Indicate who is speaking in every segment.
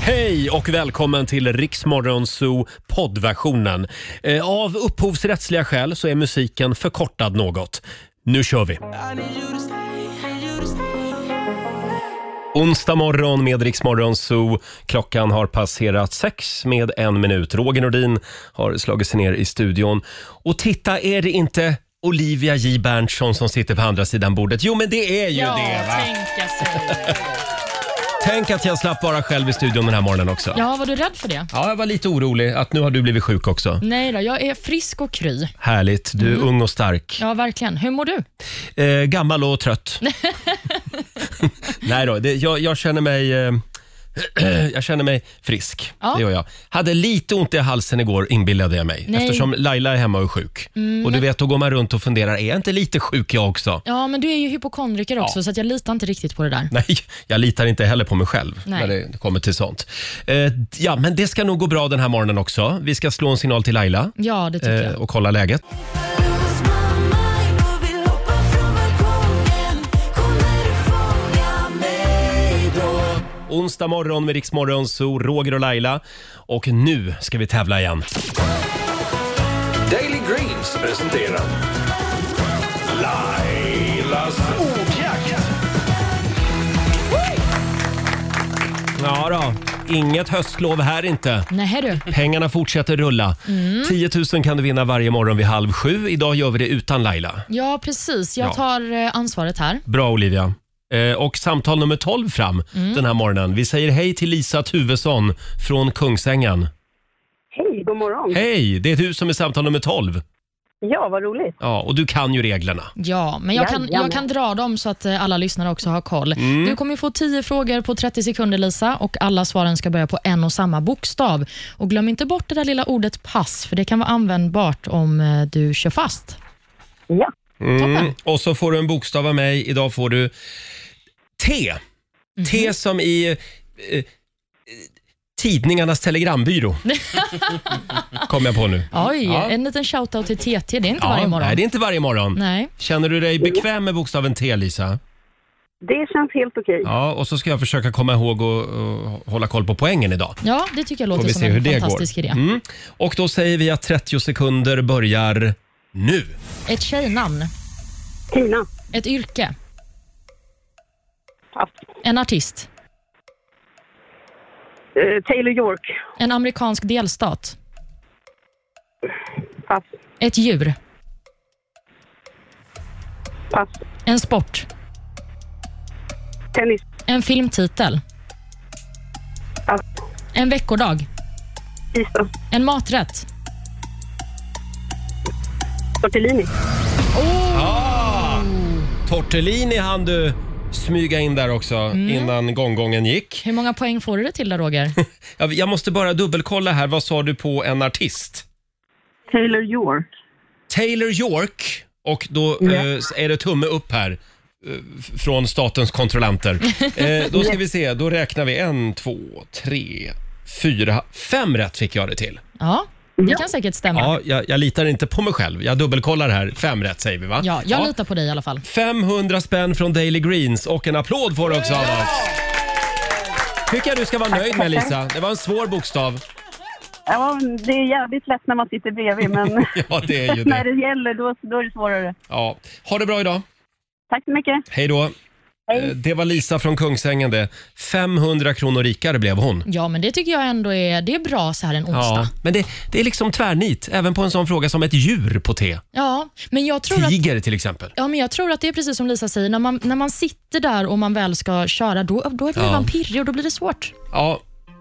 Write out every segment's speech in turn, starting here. Speaker 1: Hej och välkommen till Riksmorgon Zoo poddversionen. Eh, Av upphovsrättsliga skäl så är musiken förkortad något. Nu kör vi! Onsdag morgon med Riksmorgon Zoo. Klockan har passerat sex med en minut. Roger Nordin har slagit sig ner i studion. Och titta, är det inte Olivia J Berntsson som sitter på andra sidan bordet? Jo, men det är ju
Speaker 2: ja,
Speaker 1: det! Va?
Speaker 2: tänka sig.
Speaker 1: Tänk att jag slapp vara själv i studion den här morgonen också.
Speaker 2: Ja, var du rädd för det?
Speaker 1: Ja, jag var lite orolig att nu har du blivit sjuk också.
Speaker 2: Nej då, jag är frisk och kry.
Speaker 1: Härligt. Du
Speaker 2: Mm.
Speaker 1: är ung och stark.
Speaker 2: Ja, verkligen. Hur mår du?
Speaker 1: Eh, gammal och trött. Nej då, det, jag, jag känner mig... Eh, jag känner mig frisk.
Speaker 2: Ja.
Speaker 1: Det gör jag. Hade lite ont i halsen igår inbillade jag mig
Speaker 2: Nej. Mm,
Speaker 1: eftersom Laila är hemma och är sjuk. och du vet, då går man runt och funderar, är jag inte lite sjuk jag också?
Speaker 2: Ja, men du är ju hypokondriker också, så att jag litar inte riktigt på det där.
Speaker 1: Nej, jag litar inte heller på mig själv
Speaker 2: Nej.
Speaker 1: när det kommer till sånt. Eh, ja, men det ska nog gå bra den här morgonen också. Vi ska slå en signal till Laila
Speaker 2: Ja, det tycker
Speaker 1: eh,
Speaker 2: jag.
Speaker 1: och kolla läget. Onsdag morgon med Riksmorgon, så Roger och Laila. Och nu ska vi tävla igen.
Speaker 3: Daily Greens presenterar Lailas ordjakt.
Speaker 1: Ja då, inget höstlov här inte.
Speaker 2: Nej du.
Speaker 1: Pengarna fortsätter rulla. 10 000 kan du vinna varje morgon vid halv sju. Idag gör vi det utan Laila.
Speaker 2: Ja, precis.
Speaker 1: Ja.
Speaker 2: Jag tar eh, ansvaret här.
Speaker 1: Bra Olivia. Eh, och samtal nummer 12 fram
Speaker 2: Mm.
Speaker 1: den här morgonen. Vi säger hej till Lisa Tuvesson från Kungsängen.
Speaker 4: Hej, god morgon.
Speaker 1: Hej, det är du som är samtal nummer 12.
Speaker 4: Ja, vad roligt.
Speaker 1: Ja, och du kan ju reglerna.
Speaker 2: Ja, men jag kan, jag
Speaker 4: Jajamän.
Speaker 2: kan dra dem så att eh, alla lyssnare också har koll. Du kommer ju få 10 frågor på 30 sekunder, Lisa, och alla svaren ska börja på en och samma bokstav. Och Glöm inte bort det där lilla ordet pass, för det kan vara användbart om eh, du kör fast.
Speaker 4: Ja,
Speaker 1: Mm.
Speaker 2: Toppen.
Speaker 1: Och så får du en bokstav av mig. Idag får du T.
Speaker 2: Mhm.
Speaker 1: T som i eh, eh, tidningarnas telegrambyrå. Kom jag på nu.
Speaker 2: Oj,
Speaker 1: Ja.
Speaker 2: en liten shoutout till TT. Det är inte varje
Speaker 1: Ja,
Speaker 2: morgon.
Speaker 1: Nej, det är inte varje morgon.
Speaker 2: Nej.
Speaker 1: Känner du dig bekväm med bokstaven T, Lisa?
Speaker 4: det känns helt okej.
Speaker 1: Ja, och så ska jag försöka komma ihåg och, och hålla koll på poängen idag.
Speaker 2: Ja, det tycker jag
Speaker 1: Får vi
Speaker 2: låter som
Speaker 1: se hur
Speaker 2: en
Speaker 1: det
Speaker 2: fantastisk
Speaker 1: går.
Speaker 2: idé.
Speaker 1: Mm. Och då säger vi att 30 sekunder börjar nu.
Speaker 2: Ett tjejnamn,
Speaker 4: Tina,
Speaker 2: ett yrke,
Speaker 4: pass.
Speaker 2: en artist,
Speaker 4: Eh, Taylor York,
Speaker 2: en amerikansk delstat,
Speaker 4: pass.
Speaker 2: ett djur,
Speaker 4: Pass.
Speaker 2: en sport,
Speaker 4: Tennis,
Speaker 2: en filmtitel,
Speaker 4: pass.
Speaker 2: en veckodag,
Speaker 4: Tisdag,
Speaker 2: en maträtt.
Speaker 4: tortellini.
Speaker 1: Tortellini hann du smyga in där också
Speaker 2: Mm.
Speaker 1: innan gånggången gick.
Speaker 2: Hur många poäng får du det till då, Roger?
Speaker 1: Jag, jag måste bara dubbelkolla här. Vad sa du på en artist?
Speaker 4: Taylor York.
Speaker 1: Taylor York. Och då eh, är det tumme upp här. eh, f- Från statens kontrollanter. Eh, då ska vi se, då räknar vi en, två, tre, fyra, fem rätt fick jag det till.
Speaker 2: Ja, det kan säkert stämma. Ja,
Speaker 1: Ja, jag, jag litar inte på mig själv. Jag dubbelkollar här. Fem rätt säger vi va?
Speaker 2: jag litar på dig i alla fall.
Speaker 1: 500 spänn från Daily Greens och en applåd får du också av oss. Tycker jag du ska vara nöjd med Lisa. Det var en svår bokstav.
Speaker 4: Ja, det är jävligt lätt när man sitter bredvid, men
Speaker 1: Ja, det är ju
Speaker 4: när
Speaker 1: det.
Speaker 4: det gäller då, då är det svårare.
Speaker 1: Ja. Ha det bra idag.
Speaker 4: Tack så mycket.
Speaker 1: Hej då. Eh, Det var Lisa från Kungsängen det. 500 kronor rikare blev hon.
Speaker 2: Ja, men det tycker jag ändå är, det är bra så här en onsdag.
Speaker 1: Ja,
Speaker 2: Ja,
Speaker 1: men det, det är liksom tvärnit, även på en sån fråga som ett djur på T.
Speaker 2: men jag tror att
Speaker 1: Tiger till exempel.
Speaker 2: Ja, men jag tror att det är precis som Lisa säger, när man, när man sitter där och man väl ska köra, då, då blir
Speaker 1: Ja.
Speaker 2: man pirrig och då blir det svårt.
Speaker 1: Ja,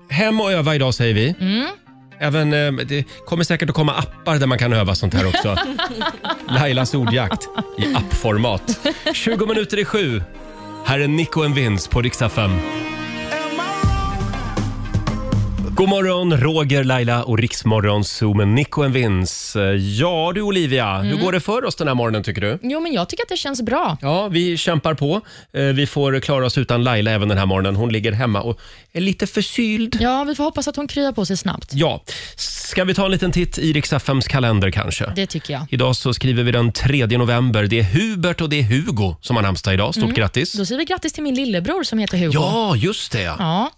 Speaker 1: hem och öva idag säger vi. Även, eh, det kommer säkert att komma appar där man kan öva sånt här också. Lailas ordjakt i appformat. 20 minuter i sju. Här är Nico and Vince på riksdag 5. God morgon, Roger, Laila och Riksmorgon Zoom med Nico and Vince. Eh, Ja du Olivia, hur går det för oss den här morgonen tycker du?
Speaker 2: Jo, men jag tycker att det känns bra.
Speaker 1: Ja, vi kämpar på. Eh, Vi får klara oss utan Laila även den här morgonen. Hon ligger hemma och är lite förkyld.
Speaker 2: Ja, vi får hoppas att hon kryar på sig snabbt.
Speaker 1: Ja, ska vi ta en liten titt i Rix FMs kalender kanske?
Speaker 2: Det tycker jag.
Speaker 1: Idag så skriver vi den 3 november. Det är Hubert och det är Hugo som har namnsdag idag. Stort grattis!
Speaker 2: Mm. Då säger vi grattis till min lillebror som heter Hugo.
Speaker 1: Ja, just det ja.
Speaker 2: Ja.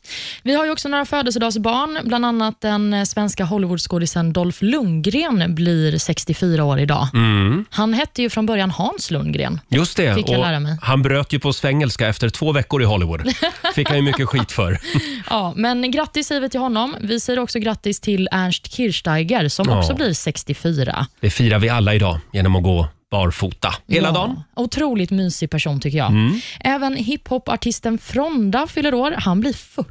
Speaker 2: Vi har ju också några födelsedagsbarn, bland annat den eh, svenska Hollywoodskådisen Dolph Lundgren blir 64 år idag.
Speaker 1: Mm.
Speaker 2: Han hette ju från början Hans Lundgren.
Speaker 1: Just det.
Speaker 2: Fick jag lära mig.
Speaker 1: han bröt ju på svengelska efter två veckor i Hollywood. Fick han ju mycket skit för.
Speaker 2: Ja, men grattis säger vi till honom. Vi säger också grattis till Ernst Kirchsteiger som
Speaker 1: Ja.
Speaker 2: också blir 64.
Speaker 1: Det firar vi alla idag genom att gå barfota hela
Speaker 2: ja.
Speaker 1: dagen. Mm.
Speaker 2: Otroligt mysig person tycker jag. Även hiphopartisten Fronda fyller år. Han blir 40.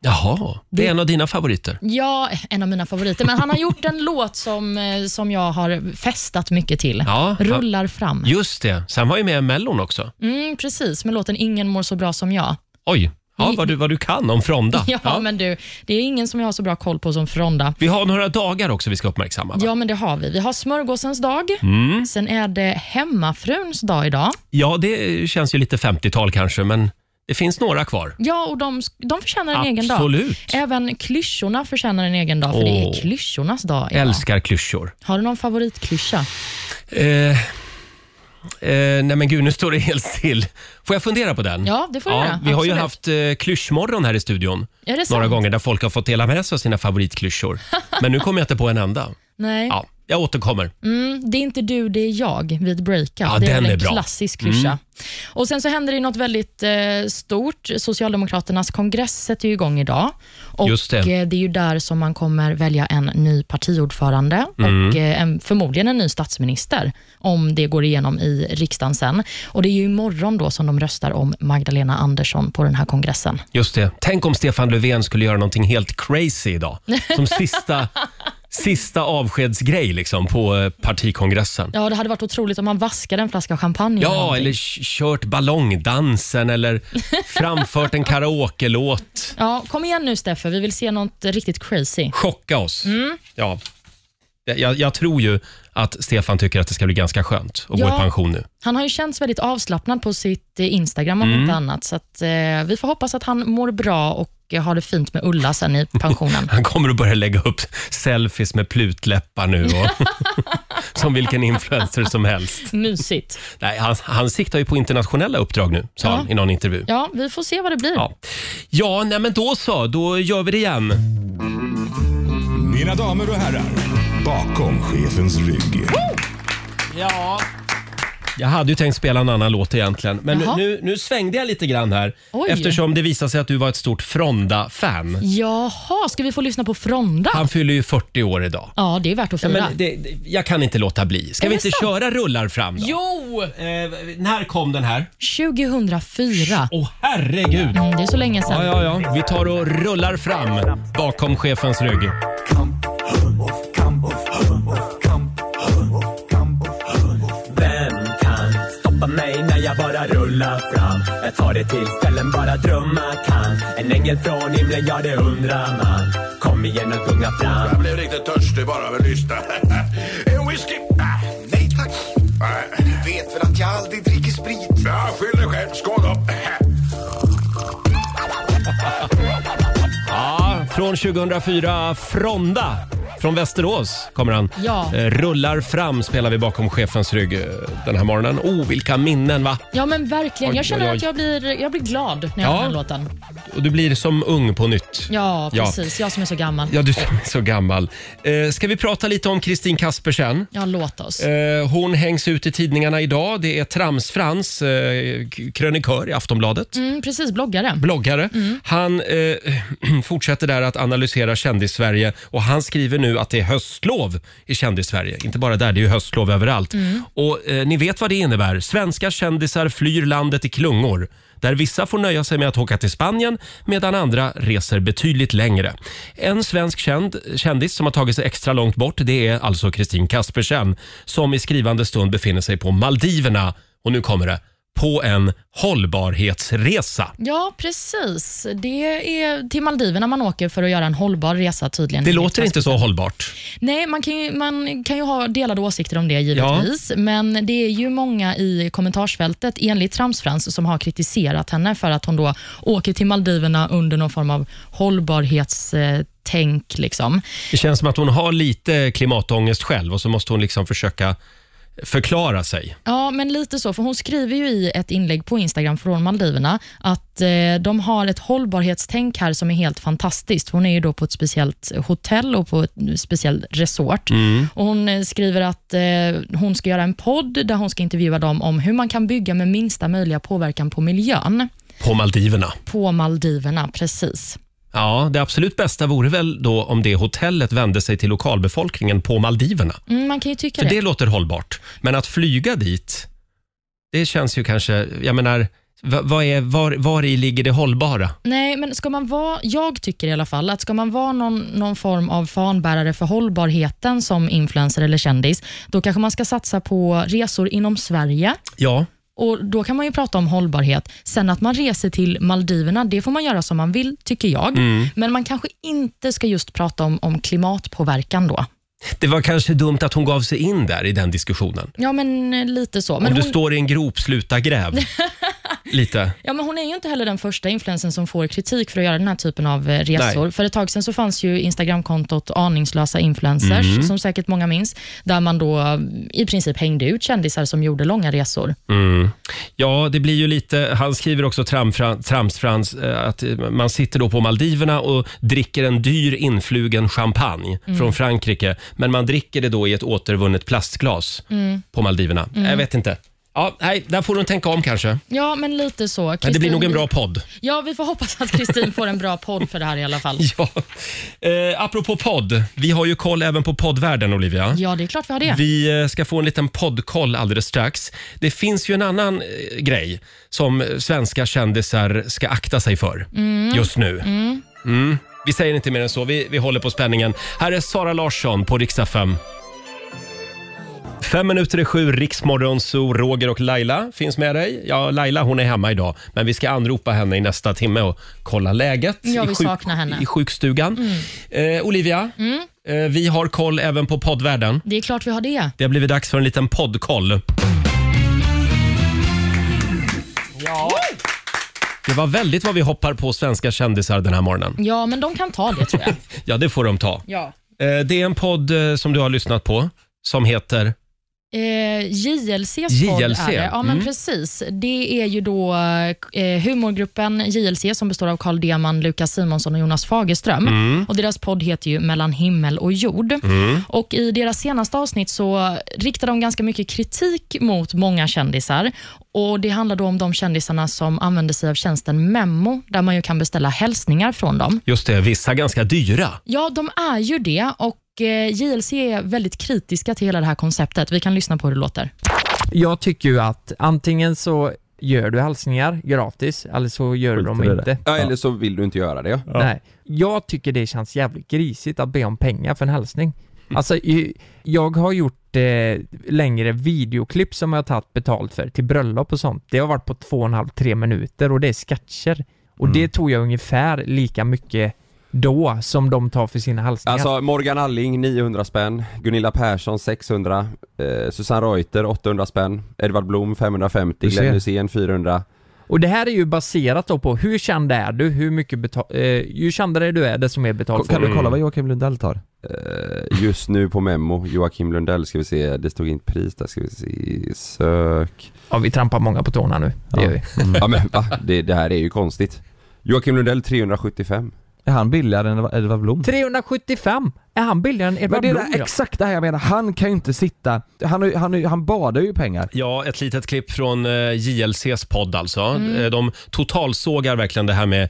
Speaker 1: Jaha, det är en av dina favoriter.
Speaker 2: Ja, en av mina favoriter. Men han har gjort en låt som, eh, som jag har festat mycket till.
Speaker 1: Ja, han-
Speaker 2: Rullar fram.
Speaker 1: Just det, sen var ju med i Mellon också.
Speaker 2: Mm, precis, med låten Ingen mår så bra som jag.
Speaker 1: Oj, ja, vad, du, vad du kan om Fronda.
Speaker 2: Mm. Ja,
Speaker 1: Ja.
Speaker 2: men du, det är ingen som jag har så bra koll på som Fronda.
Speaker 1: Vi har några dagar också vi ska uppmärksamma. Va?
Speaker 2: Ja, men det har vi. Vi har smörgåsens dag.
Speaker 1: Mm.
Speaker 2: Sen är det hemmafruns dag idag.
Speaker 1: Ja, det känns ju lite 50-tal kanske, men det finns några kvar.
Speaker 2: Ja, och de, de förtjänar en egen dag.
Speaker 1: Absolut.
Speaker 2: Även klyschorna förtjänar en egen dag, för det
Speaker 1: Åh.
Speaker 2: är klyschornas dag idag.
Speaker 1: Älskar klyschor.
Speaker 2: Har du någon favoritklyscha?
Speaker 1: Eh, eh, nej men gud, nu står det helt still. Får jag fundera på den?
Speaker 2: Ja, det får du göra.
Speaker 1: Vi har ju
Speaker 2: Absolut.
Speaker 1: haft eh, klyschmorgon här i studion
Speaker 2: Är det
Speaker 1: några
Speaker 2: sant?
Speaker 1: gånger där folk har fått dela med sig av sina favoritklyschor. Men nu kommer jag inte på en enda.
Speaker 2: Nej.
Speaker 1: Ja, jag återkommer.
Speaker 2: Mm, det är inte du, det är jag vid breakup.
Speaker 1: Ja,
Speaker 2: det är
Speaker 1: den
Speaker 2: väl en
Speaker 1: är bra. Mm.
Speaker 2: klassisk klyscha. Och Sen så händer det något väldigt eh, stort. Socialdemokraternas kongress sätter ju igång idag. Och
Speaker 1: Just det.
Speaker 2: eh, det är ju där som man kommer välja en ny partiordförande
Speaker 1: Mm.
Speaker 2: och eh, en, förmodligen en ny statsminister om det går igenom i riksdagen sen. Och Det är ju imorgon då som de röstar om Magdalena Andersson på den här kongressen.
Speaker 1: Just det. Tänk om Stefan Löfven skulle göra någonting helt crazy idag. Som sista, sista avskedsgrej liksom på eh, partikongressen.
Speaker 2: Ja, Det hade varit otroligt om man vaskade en flaska champagne.
Speaker 1: Ja,
Speaker 2: någonting.
Speaker 1: eller k- kört ballongdansen eller framfört en karaokelåt.
Speaker 2: ja, kom igen nu Steffe, vi vill se något riktigt crazy.
Speaker 1: Chocka oss.
Speaker 2: Mm.
Speaker 1: Ja. Jag, jag tror ju att Stefan tycker att det ska bli ganska skönt att gå
Speaker 2: Ja.
Speaker 1: i pension nu.
Speaker 2: Han har ju känts väldigt avslappnad på sitt eh, Instagram om
Speaker 1: Mm.
Speaker 2: inte annat, så att, eh, vi får hoppas att han mår bra och eh, har det fint med Ulla sen i pensionen.
Speaker 1: Han kommer att börja lägga upp selfies med plutläppar nu. Och som vilken influencer som helst.
Speaker 2: Mysigt.
Speaker 1: Nej, han, han siktar ju på internationella uppdrag nu, sa
Speaker 2: Ja.
Speaker 1: han i någon intervju.
Speaker 2: Ja, vi får se vad det blir.
Speaker 1: Ja, ja nej, men då så. Då gör vi det igen.
Speaker 5: Mina damer och herrar, bakom chefens rygg.
Speaker 1: Ja. Jag hade ju tänkt spela en annan låt egentligen, men nu,
Speaker 2: Jaha.
Speaker 1: nu, nu svängde jag lite grann här
Speaker 2: Oj.
Speaker 1: eftersom det visade sig att du var ett stort Fronda-fan.
Speaker 2: Jaha, ska vi få lyssna på Fronda?
Speaker 1: Han fyller ju 40 år idag.
Speaker 2: Ja, det är värt att fira.
Speaker 1: Men det, det, jag kan inte låta bli. Ska
Speaker 2: Är
Speaker 1: vi
Speaker 2: det
Speaker 1: inte
Speaker 2: sant?
Speaker 1: köra rullar fram då?
Speaker 2: Jo!
Speaker 1: Eh, när kom den här?
Speaker 2: 2004.
Speaker 1: Åh herregud!
Speaker 2: Mm, det är så länge sedan.
Speaker 1: Ja, ja, ja. Vi tar och rullar fram bakom chefens rygg.
Speaker 6: Vem kan stoppa mig när jag bara rullar fram? Jag tar det till ställen bara drömmar kan. En ängel från himlen, ja det undrar man. Kom igen och gunga fram.
Speaker 3: Jag blev riktigt törstig bara av att lyssna. En whisky? Ah,
Speaker 7: Nej tack,
Speaker 3: Nej.
Speaker 7: du vet väl att jag aldrig dricker sprit?
Speaker 3: Ja, skyll dig själv. Skål då.
Speaker 1: Ja, från 2004, Fronda. Från Västerås kommer han.
Speaker 2: Ja.
Speaker 1: Eh, Rullar fram spelar vi bakom chefens rygg eh, den här morgonen. Oh, vilka minnen va?
Speaker 2: Ja, men verkligen.
Speaker 1: Oj,
Speaker 2: Jag känner
Speaker 1: oj, oj.
Speaker 2: att jag blir, jag blir glad när jag
Speaker 1: Ja.
Speaker 2: hör den här låten.
Speaker 1: Och du blir som ung på nytt.
Speaker 2: Ja,
Speaker 1: Ja.
Speaker 2: precis. Jag som är så gammal.
Speaker 1: Ja, du som är så gammal. Eh, ska vi prata lite om Kristin Kaspersen?
Speaker 2: Ja, låt oss.
Speaker 1: Eh, hon hängs ut i tidningarna idag. Det är Tramsfrans, eh, k- krönikör i Aftonbladet.
Speaker 2: Mm, precis, bloggare.
Speaker 1: bloggare. Han eh, fortsätter där att analysera kändis-Sverige och han skriver nu att det är höstlov i kändis-Sverige. Inte bara där, det är ju höstlov överallt. Och eh, ni vet vad det innebär. Svenska kändisar flyr landet i klungor. Där vissa får nöja sig med att åka till Spanien medan andra reser betydligt längre. En svensk känd, kändis som har tagit sig extra långt bort det är alltså Kristin Kaspersen som i skrivande stund befinner sig på Maldiverna. Och nu kommer det. på en hållbarhetsresa.
Speaker 2: Ja, precis. Det är till Maldiverna man åker för att göra en hållbar resa tydligen.
Speaker 1: Det låter inte så hållbart.
Speaker 2: Nej, man kan, ju, man kan ju ha delade åsikter om det givetvis, men det är ju många i kommentarsfältet, enligt Tramsfrans, som har kritiserat henne för att hon då åker till Maldiverna under någon form av hållbarhetstänk. Liksom.
Speaker 1: Det känns som att hon har lite klimatångest själv och så måste hon liksom försöka förklara sig.
Speaker 2: Ja, men lite så, för hon skriver ju i ett inlägg på Instagram från Maldiverna att eh, de har ett hållbarhetstänk här som är helt fantastiskt. Hon är ju då på ett speciellt hotell och på ett speciellt resort. Och hon eh, skriver att eh, hon ska göra en podd där hon ska intervjua dem om hur man kan bygga med minsta möjliga påverkan på miljön
Speaker 1: På Maldiverna.
Speaker 2: på Maldiverna. Precis.
Speaker 1: Ja, det absolut bästa vore väl då om det hotellet vände sig till lokalbefolkningen på Maldiverna.
Speaker 2: Mm, man kan ju tycka
Speaker 1: För
Speaker 2: det.
Speaker 1: det låter hållbart. Men att flyga dit, det känns ju kanske, jag menar, va- vad är, var, var i ligger det hållbara?
Speaker 2: Nej, men ska man vara, jag tycker i alla fall, att ska man vara någon, någon form av fanbärare för hållbarheten som influencer eller kändis, då kanske man ska satsa på resor inom Sverige.
Speaker 1: Ja,
Speaker 2: Och Då kan man ju prata om hållbarhet. Sen att man reser till Maldiverna, det får man göra som man vill, tycker jag.
Speaker 1: Mm.
Speaker 2: Men man kanske inte ska just prata om, om klimatpåverkan då.
Speaker 1: det var kanske dumt att hon gav sig in där i den diskussionen.
Speaker 2: Ja, men eh, lite så.
Speaker 1: Om
Speaker 2: Men
Speaker 1: du
Speaker 2: hon,
Speaker 1: står i en grop, sluta gräv. Lite.
Speaker 2: Ja, men hon är ju inte heller den första influensen som får kritik för att göra den här typen av eh, resor. För ett tag sedan så fanns ju Instagramkontot aningslösa influencers,
Speaker 1: Mhm.
Speaker 2: som säkert många minns, där man då eh, i princip hängde ut kändisar som gjorde långa resor.
Speaker 1: Ja, det blir ju lite, han skriver också tramfra- Tramsfrans eh, att eh, man sitter då på Maldiverna och dricker en dyr influgen champagne från Frankrike. Men man dricker det då i ett återvunnet plastglas på Maldiverna. Jag vet inte. Ja, nej, där får hon tänka om kanske. Men
Speaker 2: Ja, men lite så.
Speaker 1: det blir
Speaker 2: Kristin-
Speaker 1: nog en bra podd.
Speaker 2: Ja, vi får hoppas att Kristin får en bra podd för det här i alla fall.
Speaker 1: Ja. Eh, apropå podd, vi har ju koll även på poddvärlden Olivia.
Speaker 2: Ja, det är klart vi har det.
Speaker 1: Vi eh, ska få en liten poddkoll alldeles strax. Det finns ju en annan eh, grej som eh, svenska kändisar ska akta sig för just nu. Mm. Vi säger inte mer än så. Vi, vi håller på spänningen. Här är Sara Larsson på riksdag 5. Fem minuter i sju, Riksmorgon, så Roger och Laila finns med dig. Ja, Laila hon är hemma idag, men vi ska anropa henne i nästa timme och kolla läget
Speaker 2: Ja,
Speaker 1: i,
Speaker 2: vi saknar henne. Mm.
Speaker 1: i sjukstugan. Eh, Olivia, eh, vi har koll även på poddvärlden.
Speaker 2: Det är klart vi har det.
Speaker 1: Det har blivit dags för en liten poddkoll. Ja. Det var väldigt vad vi hoppar på svenska kändisar den här morgonen.
Speaker 2: Ja, men de kan ta det tror jag.
Speaker 1: Ja, det får de ta.
Speaker 2: ja.
Speaker 1: Eh, Det är en podd eh, som du har lyssnat på som heter...
Speaker 2: Eh, JLCs podd
Speaker 1: JLC,
Speaker 2: är det. Ja, men
Speaker 1: mm.
Speaker 2: precis. Det är ju då eh, humorgruppen JLC som består av Carl Deman, Lukas Simonsson och Jonas Fagerström. Och deras podd heter ju Mellan himmel och jord. Och I deras senaste avsnitt så riktar de ganska mycket kritik mot många kändisar. Och Det handlar då om de kändisarna som använder sig av tjänsten Memmo, där man ju kan beställa hälsningar från dem.
Speaker 1: Just det, vissa ganska dyra.
Speaker 2: Ja, de är ju det. Och eh, JLC är väldigt kritiska till hela det här konceptet. Vi kan lyssna på hur det låter.
Speaker 8: Jag tycker ju att antingen så gör du hälsningar gratis eller så gör du dem inte.
Speaker 9: Ja, eller så vill du inte göra det.
Speaker 8: Nej. Jag tycker det känns jävligt grisigt att be om pengar för en hälsning. Alltså, i- jag har gjort eh, längre videoklipp som jag har tagit betalt för till bröllop och sånt. Det har varit på två och en halv, tre minuter och det är sketcher. Och det tog jag ungefär lika mycket då som de tar för sina hälsningar.
Speaker 9: Alltså Morgan Alling 900 spänn, Gunilla Persson 600, eh, Susanne Reuter 800 spänn, Edvard Blom 550,
Speaker 8: Du ser.
Speaker 9: Glenn Hysén 400.
Speaker 8: Och det här är ju baserat då på hur känd är du, hur mycket betal... Eh, ju kändare du är, desto mer betalt får du. Mm. Eh,
Speaker 1: kolla vad
Speaker 9: Joakim Lundell tar? just nu på Memo, Joakim Lundell ska vi se, det stod inte pris där ska vi se, sök.
Speaker 8: Ja, vi trampar många på tårna nu. Det gör vi.
Speaker 9: Ja men va? Det, det här är ju konstigt. Joakim Lundell 375.
Speaker 10: Är han billigare än Edvard Blom?
Speaker 8: 375! Är han billigare än
Speaker 10: Men
Speaker 8: Edvard
Speaker 10: det är
Speaker 8: Blom?
Speaker 10: det,
Speaker 8: då?
Speaker 10: exakt det här jag menar, han kan ju inte sitta, han, har ju- han, har ju- han badar ju i pengar.
Speaker 1: Ja, ett litet klipp från eh, JLCs podd alltså. Eh, De totalsågar verkligen det här med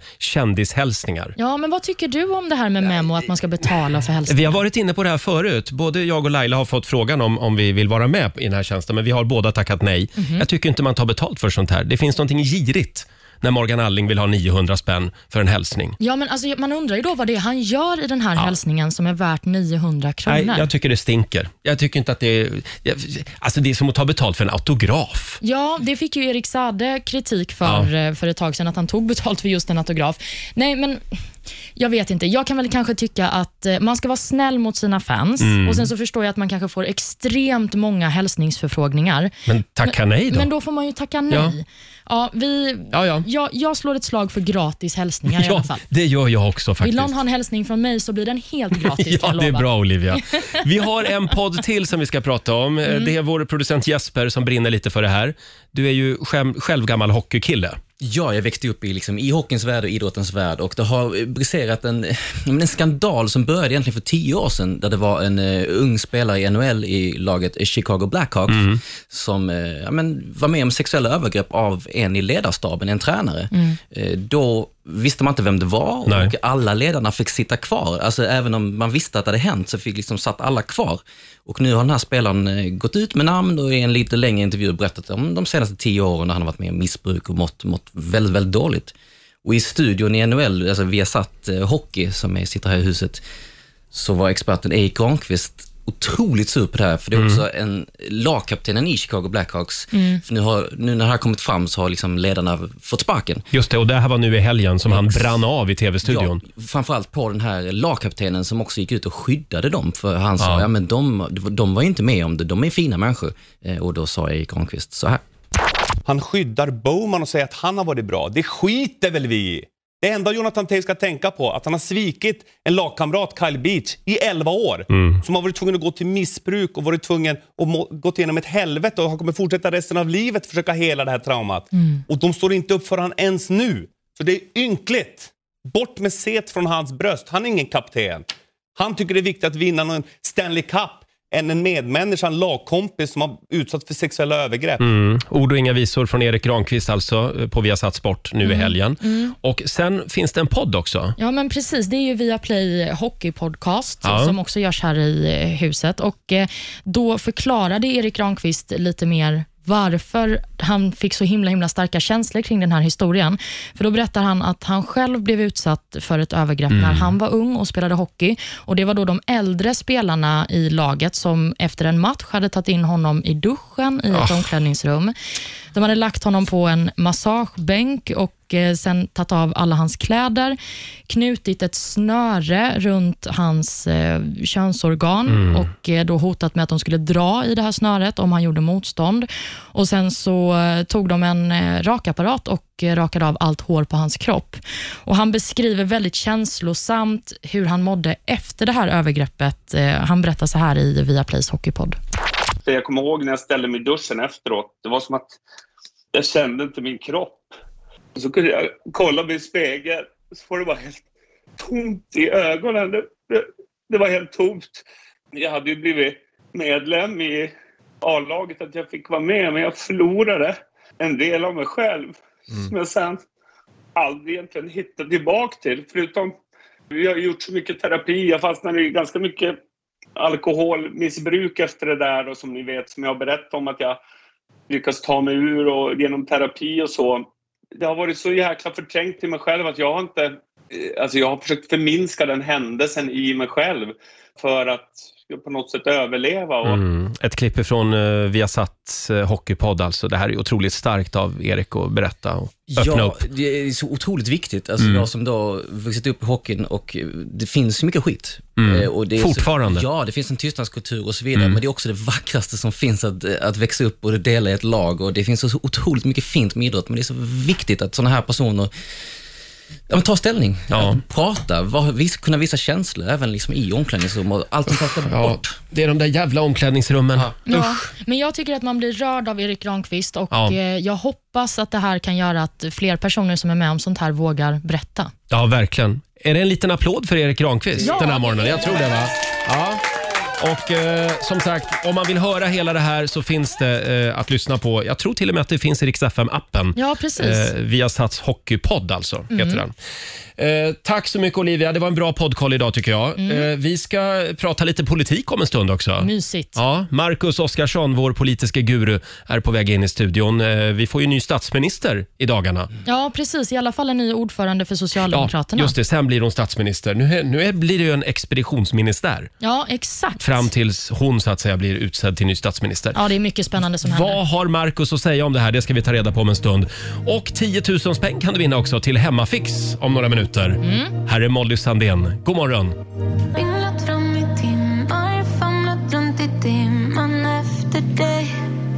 Speaker 1: kändishälsningar.
Speaker 2: Ja, men vad tycker du om det här med Memo, att man ska betala för hälsningar?
Speaker 1: Vi har varit inne på det här förut. Både jag och Laila har fått frågan om, om vi vill vara
Speaker 2: Mhm.
Speaker 1: med i den här tjänsten, men vi har båda tackat nej. Jag tycker inte man tar betalt för sånt här. Det finns någonting girigt när Morgan Alling vill ha 900 spänn för en hälsning.
Speaker 2: Ja, men alltså, man undrar ju då vad det är han gör i den här hälsningen som är värt 900 kronor.
Speaker 1: Nej, jag tycker det stinker. Jag tycker inte att det är... jag- Alltså det är som att ta betalt för en autograf.
Speaker 2: Ja, det fick ju Erik Sade kritik för, eh, för ett tag sedan, att han tog betalt för just en autograf. Nej, men jag vet inte. Jag kan väl kanske tycka att eh, man ska vara snäll mot sina fans
Speaker 1: Mm.
Speaker 2: och sen så förstår jag att man kanske får extremt många hälsningsförfrågningar.
Speaker 1: Men tacka
Speaker 2: Men-
Speaker 1: nej då.
Speaker 2: Men då får man ju tacka nej.
Speaker 1: Ja.
Speaker 2: Ja. vi,
Speaker 1: Ja, ja.
Speaker 2: Jag, jag slår ett slag för gratis hälsningar i alla
Speaker 1: ja,
Speaker 2: fall.
Speaker 1: det gör jag också faktiskt.
Speaker 2: Vill någon ha en hälsning från mig så blir den helt gratis. kan
Speaker 1: Ja,
Speaker 2: jag
Speaker 1: det är
Speaker 2: lova.
Speaker 1: bra Olivia. Vi har en podd till som vi ska prata om. Eh,
Speaker 2: Mm.
Speaker 1: Det är vår producent Jesper som brinner lite för det här. Du är ju själv, själv gammal hockeykille.
Speaker 11: Ja, jag växte upp i, liksom, i hockeyns värld och idrottens värld och det har eh, briserat en, eh, en skandal som började egentligen för tio år sedan där det var en eh, ung spelare i NHL i laget Chicago Blackhawks som eh, ja, men, var med om sexuella övergrepp av en i ledarstaben, en tränare.
Speaker 12: Mm.
Speaker 11: Eh, då visste man inte vem det var
Speaker 12: Nej.
Speaker 11: och alla ledarna fick sitta kvar. Alltså, även om man visste att det hade hänt så fick liksom satt alla kvar. Och nu har den här spelaren eh, gått ut med namn och i en lite längre intervju berättat om de senaste tio åren när han har varit med om missbruk och mått, mått väldigt, väldigt dåligt. Och i studion i NHL, alltså Viasat eh, Hockey som är, sitter här i huset, så var experten Erik Granqvist otroligt sur på det här, för det är också en lagkaptenen i Chicago Blackhawks.
Speaker 1: Mm.
Speaker 11: För nu, har, nu när det här kommit fram så har liksom ledarna fått sparken.
Speaker 1: Just det, och det här var nu i helgen som han brann av i tv-studion.
Speaker 11: Ja, framförallt på den här lagkaptenen som också gick ut och skyddade dem. För han sa,
Speaker 1: Ja.
Speaker 11: ja, men de, de var ju inte med om det, de är fina människor. Eh, Och då sa Erik Granqvist så här.
Speaker 13: Han skyddar Bowman och säger att han har varit bra. Det skiter väl vi i? Det enda Jonathan Tave ska tänka på att han har svikit en lagkamrat, Kyle Beach, i 11 år.
Speaker 1: Mm.
Speaker 13: Som har varit tvungen att gå till missbruk och varit tvungen att må- gått igenom ett helvete och han kommer fortsätta resten av livet försöka hela det här traumat.
Speaker 14: Mm.
Speaker 13: Och de står inte upp för han ens nu. Så det är ynkligt. Bort med set från hans bröst. Han är ingen kapten. Han tycker det är viktigt att vinna någon Stanley Cup än en medmänniska, en lagkompis som har utsatts för sexuella övergrepp.
Speaker 1: Mm. Ord och inga visor från Erik Granqvist alltså eh, på Viasat Sport nu i
Speaker 2: Mm.
Speaker 1: helgen.
Speaker 2: Mm.
Speaker 1: Och sen finns det en podd också.
Speaker 2: Ja, men precis. Det är ju via Play Hockeypodcast
Speaker 1: Ja.
Speaker 2: som också görs här i eh, huset. Och eh, Då förklarade Erik Granqvist lite mer varför han fick så himla himla starka känslor kring den här historien. För Då berättar han att han själv blev utsatt för ett övergrepp
Speaker 15: Mm.
Speaker 2: när han var ung och spelade hockey. Och Det var då de äldre spelarna i laget som efter en match hade tagit in honom i duschen i ett
Speaker 15: Ah.
Speaker 2: omklädningsrum. De hade lagt honom på en massagebänk och eh, sen tagit av alla hans kläder, knutit ett snöre runt hans eh, könsorgan
Speaker 15: Mm.
Speaker 2: och eh, då hotat med att de skulle dra i det här snöret om han gjorde motstånd. Och Sen så eh, tog de en eh, rakapparat och eh, rakade av allt hår på hans kropp. Och Han beskriver väldigt känslosamt hur han mådde efter det här övergreppet. Eh, han berättar så här i Viaplays hockeypodd.
Speaker 16: För jag kommer ihåg när jag ställde mig i duschen efteråt. Det var som att jag kände inte min kropp. Så kunde jag kolla mig i spegeln så var det bara helt tomt i ögonen. Det, det, det var helt tomt. Jag hade ju blivit medlem i A-laget att jag fick vara med men jag förlorade en del av mig själv som jag sen aldrig egentligen hittade tillbaka till. Förutom vi har gjort så mycket terapi. Jag fastnade i ganska mycket alkoholmissbruk efter det där och som ni vet som jag har berättat om att jag lyckas ta mig ur och genom terapi och så. Det har varit så jäkla förträngt i mig själv att jag har inte... eh, Alltså jag har försökt förminska den händelsen i mig själv för att på något sätt överleva. Och
Speaker 1: Mm. Ett klipp ifrån uh, Viasats eh, hockeypodd alltså. Det här är otroligt starkt av Erik att berätta och öppna
Speaker 11: ja,
Speaker 1: upp.
Speaker 11: det är så otroligt viktigt. Alltså
Speaker 1: Mm.
Speaker 11: Jag som då vuxit upp i hockeyn och eh, det finns så mycket skit.
Speaker 1: Mm.
Speaker 11: Eh, Och det är
Speaker 1: Fortfarande.
Speaker 11: Så, ja, det finns en tystnadskultur och så vidare,
Speaker 1: Mm.
Speaker 11: men det är också det vackraste som finns att, eh, att växa upp och dela i ett lag. Och det finns så otroligt mycket fint med idrott, men det är så viktigt att sådana här personer Ja, men ta ställning, att prata, var, vis, kunna visa känslor även liksom i omklädningsrum och allt sånt där ska bort.
Speaker 1: Det är de där jävla omklädningsrummen.
Speaker 2: Ja, men jag tycker att man blir rörd av Erik Granqvist och
Speaker 1: Ja.
Speaker 2: eh, jag hoppas att det här kan göra att fler personer som är med om sånt här vågar berätta.
Speaker 1: Ja, verkligen. Är det en liten applåd för Erik Granqvist den här morgonen? Jag tror det va? Ja. Och eh, som sagt, om man vill höra hela det här så finns det eh, att lyssna på. Jag tror till och med att det finns i Rix FM-appen.
Speaker 2: Ja, precis.
Speaker 1: Viasats Eh, Hockeypodd alltså,
Speaker 2: Mm.
Speaker 1: heter den. Eh, tack så mycket Olivia, det var en bra poddkoll idag tycker jag.
Speaker 2: Mm.
Speaker 1: Eh, vi ska prata lite politik om en stund också.
Speaker 2: Mysigt.
Speaker 1: Ja, Marcus Oskarsson, vår politiska guru, är på väg in i studion. Eh, vi får ju ny statsminister i dagarna.
Speaker 2: Ja, precis. I alla fall en ny ordförande för
Speaker 1: Ja,
Speaker 2: Socialdemokraterna.
Speaker 1: just det. Sen blir hon statsminister. Nu, är- nu är- blir det ju en expeditionsministär.
Speaker 2: Ja, exakt.
Speaker 1: Fram tills hon så att säga blir utsedd till ny statsminister.
Speaker 2: Ja, det är mycket spännande som händer.
Speaker 1: Vad har Marcus att säga om det här? Det ska vi ta reda på om en stund. Och 10 000 spänn kan du vinna också till Hemmafix om några minuter.
Speaker 12: Mm.
Speaker 1: Här är Molly Sandén. God morgon!
Speaker 12: Ringlat fram i timmar, famlat runt i dimman efter dig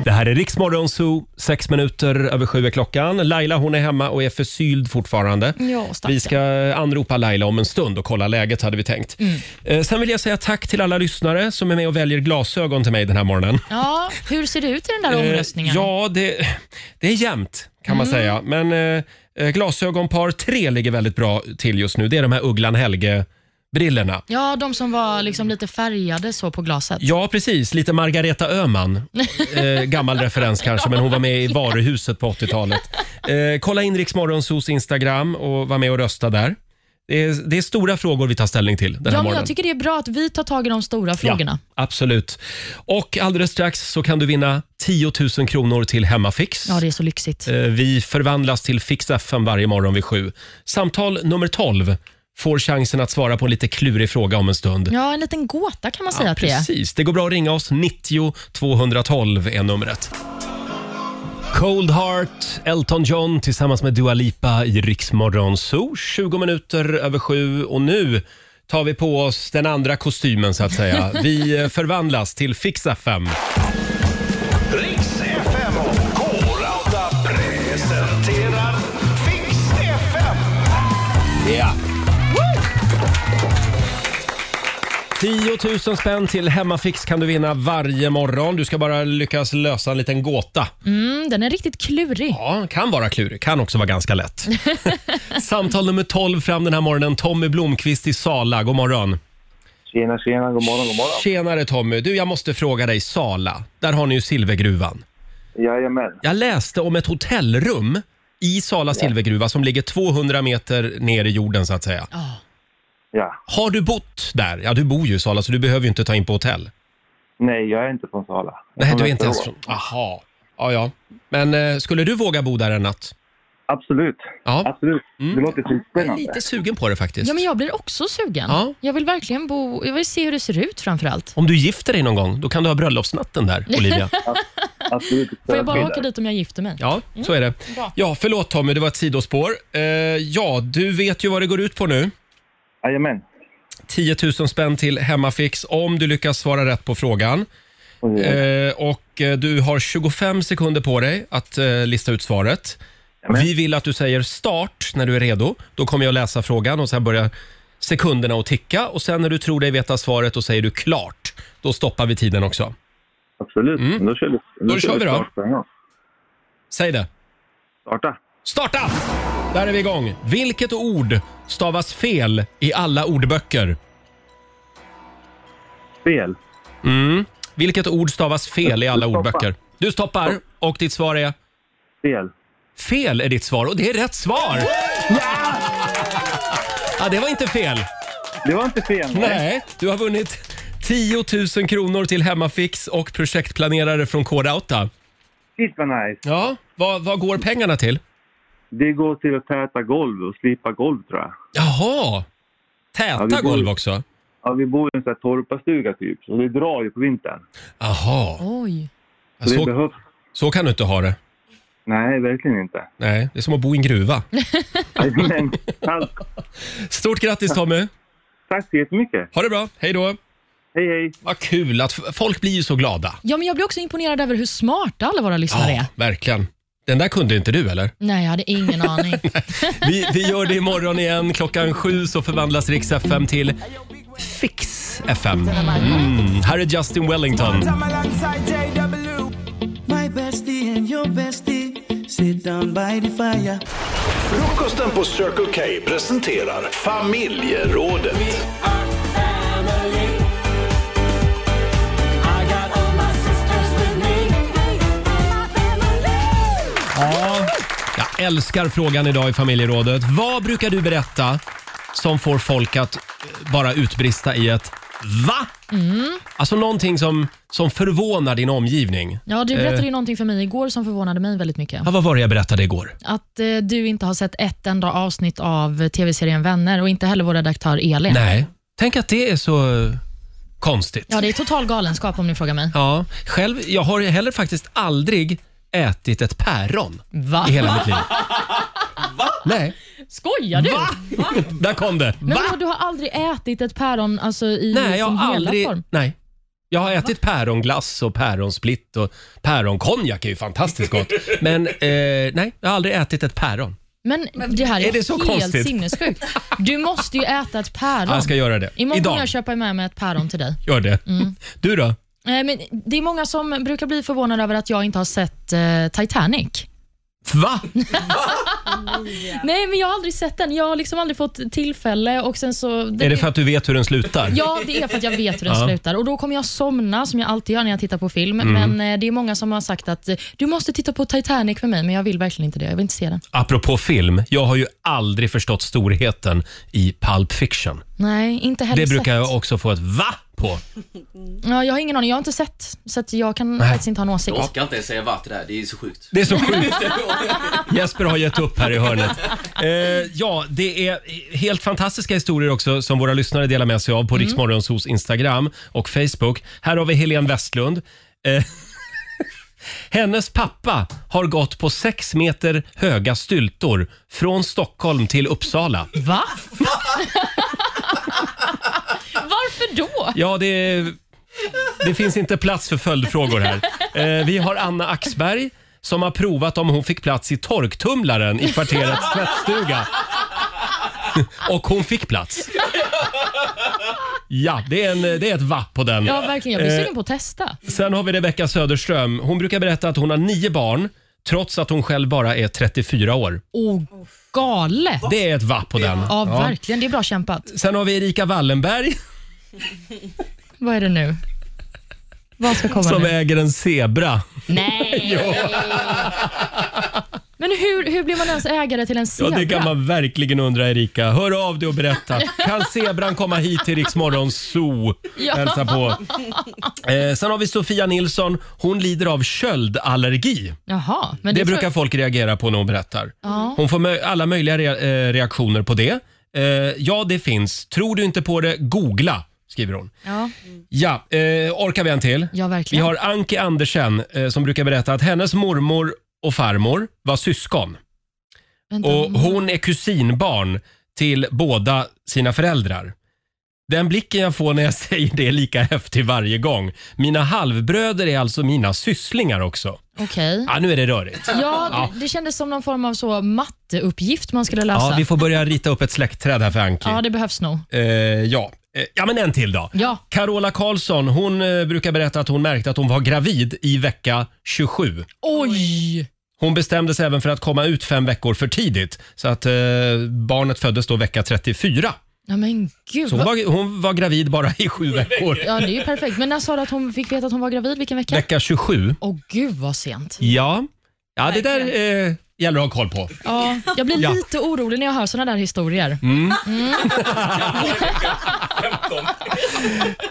Speaker 1: Det här är Riksmorgon Zoo. Sex minuter över sju är klockan. Laila hon är hemma och är förkyld fortfarande.
Speaker 2: Ja, stackarn.
Speaker 1: vi ska anropa Laila om en stund och kolla läget hade vi tänkt.
Speaker 2: Mm.
Speaker 1: Eh, Sen vill jag säga tack till alla lyssnare som är med och väljer glasögon till mig den här morgonen.
Speaker 2: Ja, hur ser det ut i den där
Speaker 1: Eh,
Speaker 2: omröstningen?
Speaker 1: Ja, det, det är jämnt kan
Speaker 2: Mm.
Speaker 1: man säga. Men eh, eh, glasögonpar tre ligger väldigt bra till just nu. Det är de här Ugglan Helge-brillorna.
Speaker 2: Ja, de som var liksom lite färgade så på glaset.
Speaker 1: Ja, precis. Lite Margareta Öhman. Eh, gammal referens kanske, men hon var med i Varuhuset på 80-talet. Eh, kolla in Rix Morgonzos Instagram och var med och rösta där. Det är, det är stora frågor vi tar ställning till den här
Speaker 2: Ja, men
Speaker 1: morgonen.
Speaker 2: jag tycker det är bra att vi tar tag i de stora frågorna.
Speaker 1: Ja, absolut. Och alldeles strax så kan du vinna 10 000 kronor till Hemmafix.
Speaker 2: Ja, det är så lyxigt.
Speaker 1: Eh, Vi förvandlas till Fix FM varje morgon vid sju. Samtal nummer 12 får chansen att svara på en lite klurig fråga om en stund.
Speaker 2: Ja, en liten gåta kan man säga att det är.
Speaker 1: Precis. Det går bra att ringa oss. 90 212 är numret. Cold Heart, Elton John tillsammans med Dua Lipa i Riksmorgon Zoo. 20 minuter över sju och nu tar vi på oss den andra kostymen så att säga. Vi eh, förvandlas till Fix FM.
Speaker 3: Riks FM och K-Rauta presenterar Fix FM.
Speaker 1: Ja. 10 000 spänn till Hemmafix kan du vinna varje morgon. Du ska bara lyckas lösa en liten gåta.
Speaker 2: Mm, den är riktigt klurig.
Speaker 1: Ja, kan vara klurig, kan också vara ganska lätt. Samtal nummer 12 fram den här morgonen. Tommy Blomqvist i Sala, god morgon.
Speaker 14: Tjena, tjena, god morgon, god morgon.
Speaker 1: Tjenare Tommy. Du, jag måste fråga dig, Sala, där har ni ju silvergruvan.
Speaker 14: Jajamän.
Speaker 1: Jag läste om ett hotellrum i Sala silvergruva som ligger 200 meter ner i jorden så att säga.
Speaker 14: Ja.
Speaker 1: Har du bott där? Ja, du bor ju i Sala så du behöver ju inte ta in på hotell.
Speaker 14: Nej, jag är inte från Sala. Jag
Speaker 1: Nej,
Speaker 14: kommer
Speaker 1: du är inte ens från...
Speaker 14: efteråt.
Speaker 1: Aha. Ja, ja. Men eh, skulle du våga bo där en natt?
Speaker 14: Absolut.
Speaker 1: Ja.
Speaker 14: Absolut. Det låter skitspännande.
Speaker 1: Jag är lite sugen på det faktiskt.
Speaker 2: Ja, men jag blir också sugen.
Speaker 1: Ja.
Speaker 2: Jag vill verkligen bo... Jag vill se hur det ser ut framför allt.
Speaker 1: Om du gifter dig någon gång, då kan du ha bröllopsnatten där, Olivia.
Speaker 14: Absolut.
Speaker 2: Får jag bara åka dit om jag gifter mig?
Speaker 1: Ja, så är det.
Speaker 2: Bra.
Speaker 1: Ja, förlåt Tommy, det var ett sidospår. Eh, ja, du vet ju vad det går ut på nu.
Speaker 14: Jajamän.
Speaker 1: 10 000 spänn till Hemmafix om du lyckas svara rätt på frågan. Eh, och eh, du har 25 sekunder på dig att eh, lista ut svaret. Vi vill att du säger start när du är redo. Då kommer jag läsa frågan och sen börjar sekunderna att ticka. Och sen när du tror dig veta svaret, då säger du klart. Då stoppar vi tiden också.
Speaker 14: Absolut. Men Då kör vi.
Speaker 1: Mm. Då kör vi då.
Speaker 14: snart på en gång.
Speaker 1: Säg det.
Speaker 14: Starta.
Speaker 1: Starta! Där är vi igång. Vilket ord stavas fel i alla ordböcker?
Speaker 14: Fel.
Speaker 1: Mm. Vilket ord stavas fel i alla
Speaker 14: Du stoppar.
Speaker 1: ordböcker? Du stoppar och ditt svar är?
Speaker 14: Fel.
Speaker 1: Fel är ditt svar och det är rätt svar! Ja, det var inte fel.
Speaker 14: Det var inte fel.
Speaker 1: Nej, du har vunnit 10 000 kronor till Hemmafix och projektplanerare från Kodauta.
Speaker 14: Shit vad nice.
Speaker 1: Ja, vad, vad går pengarna till?
Speaker 14: Det går till att täta golv och slipa golv tror jag.
Speaker 1: Jaha! Täta
Speaker 14: vi bor-
Speaker 1: golv också?
Speaker 14: Ja, vi bor i en sån här torparstuga typ, så det drar ju på vintern.
Speaker 1: Jaha.
Speaker 2: Oj.
Speaker 1: Så, så, kan du inte ha det.
Speaker 14: Nej, verkligen inte.
Speaker 1: Nej, det är som att bo i en gruva. Stort grattis Tommy!
Speaker 14: Tack så jättemycket!
Speaker 1: Ha det bra, hej då!
Speaker 14: Hej hej!
Speaker 1: Vad kul att f- folk blir ju så glada.
Speaker 2: Ja, men jag blir också imponerad över hur smarta alla våra lyssnare är.
Speaker 1: Verkligen. Den där kunde inte du eller?
Speaker 2: Nej, jag hade ingen aning.
Speaker 1: Vi, vi gör det imorgon igen. Klockan sju så förvandlas Rix FM till Fix FM. Mm. Här är Justin Wellington.
Speaker 15: My bestie and your bestie sit down by the fire.
Speaker 3: Frukosten på Circle K presenterar Familjerådet.
Speaker 1: älskar frågan idag i familjerådet. Vad brukar du berätta som får folk att eh, bara utbrista i ett VA?
Speaker 2: Mm.
Speaker 1: Alltså någonting som, som förvånar din omgivning.
Speaker 2: Ja, du berättade
Speaker 1: Eh,
Speaker 2: ju någonting för mig igår som förvånade mig väldigt mycket.
Speaker 1: ja, vad var det jag berättade igår?
Speaker 2: Att eh, du inte har sett ett enda avsnitt av tv-serien Vänner och inte heller vår redaktör Elin.
Speaker 1: Nej, tänk att det är så eh, konstigt.
Speaker 2: Ja, det är total galenskap om ni frågar mig.
Speaker 1: Ja, själv, jag har ju heller faktiskt aldrig ätit ett päron
Speaker 2: Va?
Speaker 1: i hela mitt liv. Nej,
Speaker 2: Skojar du?
Speaker 1: Va? där kom det.
Speaker 2: Nej,
Speaker 1: Va?
Speaker 2: men du har aldrig ätit ett päron alltså, i
Speaker 1: Nej, jag
Speaker 2: sin
Speaker 1: har
Speaker 2: hela
Speaker 1: aldrig...
Speaker 2: form?
Speaker 1: Nej. Jag har ätit päronglass och päronsplitt och päronkonjak är ju fantastiskt gott. Men eh, nej, jag har aldrig ätit ett päron.
Speaker 2: Men det här är,
Speaker 1: är det så
Speaker 2: helt
Speaker 1: konstigt?
Speaker 2: sinnessjukt. Du måste ju äta ett päron.
Speaker 1: Ja, jag ska göra det.
Speaker 2: Imorgon
Speaker 1: Idag.
Speaker 2: kommer jag Mm. köpa med mig ett päron till dig.
Speaker 1: Gör det. Du då?
Speaker 2: Eh, Men det är många som brukar bli förvånade över att jag inte har sett eh, Titanic.
Speaker 1: Va?
Speaker 2: Nej, men jag har aldrig sett den. Jag har liksom aldrig fått tillfälle. Och sen så,
Speaker 1: Är det för att du vet hur den slutar?
Speaker 2: Ja, det är för att jag vet hur den
Speaker 1: Ja.
Speaker 2: slutar. Och Då kommer jag somna, som jag alltid gör när jag tittar på film.
Speaker 1: Mm.
Speaker 2: Men eh, det är många som har sagt att eh, du måste titta på Titanic med mig, men jag vill verkligen inte det. Jag vill inte se den.
Speaker 1: Apropå film, jag har ju aldrig förstått storheten i Pulp Fiction.
Speaker 2: Nej, inte heller
Speaker 1: Det brukar
Speaker 2: sett.
Speaker 1: jag också få ett VA på.
Speaker 2: Ja, jag har ingen aning. Jag har inte sett, så att jag kan
Speaker 1: Nej.
Speaker 2: faktiskt inte ha en åsikt.
Speaker 11: Jag orkar inte ens säga vart det där, det är så sjukt.
Speaker 1: Det är så sjukt. Jesper har gett upp här i hörnet. Eh, ja, det är helt fantastiska historier också som våra lyssnare delar med sig av på
Speaker 17: Mm.
Speaker 1: Riksmorgonsos Instagram och Facebook. Här har vi Helene Westlund. Eh, hennes pappa har gått på sex meter höga styltor från Stockholm till Uppsala.
Speaker 2: Va? Varför då?
Speaker 1: Ja, det, det finns inte plats för följdfrågor här. Eh, vi har Anna Axberg som har provat om hon fick plats i torktumlaren i kvarterets tvättstuga. Och hon fick plats. Ja, det är, en, det är ett va på den.
Speaker 2: Ja, verkligen. Jag blir
Speaker 1: Eh,
Speaker 2: sugen på att testa.
Speaker 1: Sen har vi Rebecka Söderström. Hon brukar berätta att hon har nio barn trots att hon själv bara är 34 år.
Speaker 2: Åh,
Speaker 1: oh,
Speaker 2: galet!
Speaker 1: Det är ett va på den.
Speaker 2: Ja, verkligen. Det är bra kämpat.
Speaker 1: Sen har vi Erika Wallenberg
Speaker 2: Vad är det nu? Vad ska komma
Speaker 1: som
Speaker 2: nu?
Speaker 1: äger en zebra.
Speaker 2: Nej! Men hur, hur blir man ens ägare till en
Speaker 1: Ja,
Speaker 2: zebra?
Speaker 1: det kan man verkligen undra Erika. Hör av dig och berätta. Kan zebran komma hit till Rix Morgon Zoo?
Speaker 2: Ja.
Speaker 1: Hälsa på. Eh, sen har vi Sofia Nilsson. Hon lider av köldallergi.
Speaker 2: Jaha, men
Speaker 1: det
Speaker 2: det, tror-
Speaker 1: brukar folk reagera på när hon berättar.
Speaker 2: Ja.
Speaker 1: Hon får mö- alla möjliga re- eh, reaktioner på det. Eh, ja, det finns. Tror du inte på det, googla, skriver hon.
Speaker 2: Ja.
Speaker 1: Ja, eh, orkar vi en till?
Speaker 2: Ja,
Speaker 1: Vi
Speaker 2: verkligen.
Speaker 1: har Anke Andersen eh, som brukar berätta att hennes mormor och farmor var syskon.
Speaker 2: Vänta.
Speaker 1: Och hon är kusinbarn till båda sina föräldrar. Den blicken jag får när jag säger det är lika häftig varje gång. Mina halvbröder är alltså mina sysslingar också.
Speaker 2: Okej.
Speaker 1: Ja, nu är det rörigt.
Speaker 2: Ja, det, det kändes som någon form av så matteuppgift man skulle lösa.
Speaker 1: ja, vi får börja rita upp ett släktträd här för Anki.
Speaker 2: Alltså. Ja, det behövs nog.
Speaker 1: Eh, ja. Eh, ja, men en till då.
Speaker 2: Ja.
Speaker 1: Carola Karlsson hon eh, brukar berätta att hon märkte att hon var gravid i vecka 27.
Speaker 2: Oj!
Speaker 1: Hon bestämde sig även för att komma ut fem veckor för tidigt. Så att eh, barnet föddes då vecka 34.
Speaker 2: Ja, men gud.
Speaker 1: Så hon,
Speaker 2: vad-
Speaker 1: var, hon var gravid bara i sju veckor.
Speaker 2: Ja, det är ju perfekt. Men när sa du att hon fick veta att hon var gravid? Vilken vecka?
Speaker 1: Vecka 27.
Speaker 2: Åh gud vad sent.
Speaker 1: Ja, ja det där eh, gäller att ha koll på.
Speaker 2: Ja, jag blir
Speaker 1: Ja.
Speaker 2: lite orolig när jag hör såna där historier.
Speaker 1: Mm.
Speaker 2: Mm.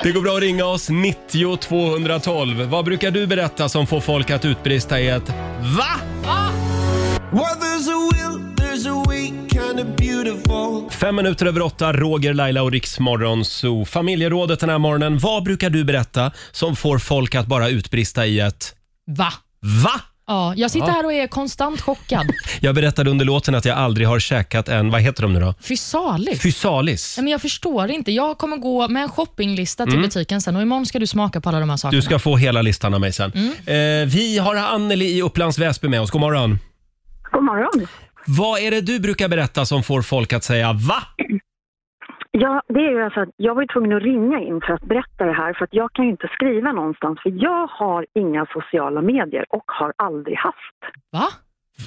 Speaker 1: Det går bra att ringa oss 90 212. Vad brukar du berätta som får folk att utbrista i ett VA?
Speaker 15: Well, there's a will, there's a way, kind of beautiful.
Speaker 1: Fem minuter över åtta, Roger, Laila och Riksmorgon Zoo. Familjerådet den här morgonen. Vad brukar du berätta som får folk att bara utbrista i ett
Speaker 2: Va?
Speaker 1: VA?
Speaker 2: Ja, jag sitter
Speaker 1: Ja.
Speaker 2: här och är konstant chockad.
Speaker 1: Jag berättade under låten att jag aldrig har käkat en, vad heter de nu då?
Speaker 2: Fy saligt.
Speaker 1: Fysalis.
Speaker 2: Nej, Men jag förstår inte. Jag kommer gå med en shoppinglista till
Speaker 1: Mm.
Speaker 2: butiken sen och imorgon ska du smaka på alla de här sakerna.
Speaker 1: Du ska få hela listan av mig sen.
Speaker 18: Mm.
Speaker 1: Eh, vi har Anneli i Upplands Väsby med oss. God morgon.
Speaker 4: God morgon.
Speaker 1: Vad är det du brukar berätta som får folk att säga va?
Speaker 18: Ja, det är ju alltså att jag var ju tvungen att ringa in för att berätta det här för att jag kan ju inte skriva någonstans för jag har inga sociala medier och har aldrig haft.
Speaker 2: Va?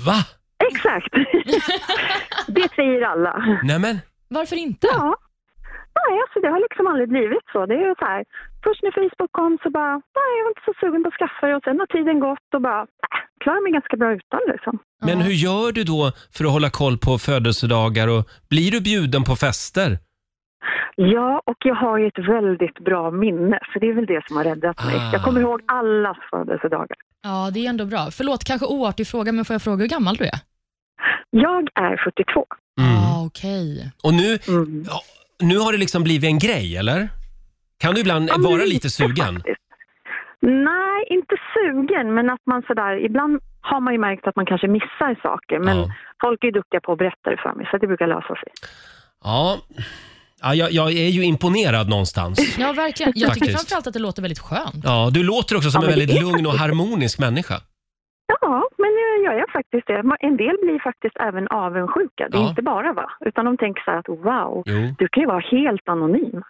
Speaker 1: Va?
Speaker 18: Exakt! det säger alla.
Speaker 1: Nämen.
Speaker 2: Varför inte?
Speaker 18: Ja. Nej, alltså det har liksom aldrig blivit så. Det är ju så här, först när Facebook kom så bara, nej jag var inte så sugen på att skaffa det och sen har tiden gått och bara, nej, klarar mig ganska bra utan liksom.
Speaker 1: Men hur gör du då för att hålla koll på födelsedagar och blir du bjuden på fester?
Speaker 18: Ja, och jag har ju ett väldigt bra minne, så det är väl det som har räddat mig.
Speaker 1: Ah.
Speaker 18: Jag kommer ihåg allas födelsedagar.
Speaker 2: Ja, det är ändå bra. Förlåt, kanske oartig fråga, men får jag fråga hur gammal du är?
Speaker 18: Jag är Mm. 42.
Speaker 1: Mm.
Speaker 2: Ah, Okej.
Speaker 1: Och nu, ja, nu har det liksom blivit en grej, eller? Kan du ibland
Speaker 18: Ja, men
Speaker 1: vara
Speaker 18: lite
Speaker 1: lite sugen?
Speaker 18: Nej, inte sugen, men att man sådär, ibland har man ju märkt att man kanske missar saker, men folk är ju duktiga på att berätta det för mig, så det brukar lösa sig.
Speaker 1: Ja, ja jag, jag är ju imponerad någonstans.
Speaker 2: Ja, verkligen. Jag tycker
Speaker 1: Faktiskt.
Speaker 2: framförallt att det låter väldigt skönt.
Speaker 1: Ja, du låter också som
Speaker 18: Ja,
Speaker 1: en
Speaker 18: men det
Speaker 1: väldigt
Speaker 18: är
Speaker 1: lugn och
Speaker 18: faktiskt-
Speaker 1: harmonisk människa.
Speaker 18: Ja, men eh, jag är faktiskt det. Man- En del blir faktiskt även avundsjuka. Det är inte bara va, utan de tänker så här att wow,
Speaker 1: Jo.
Speaker 18: du kan ju vara helt anonym.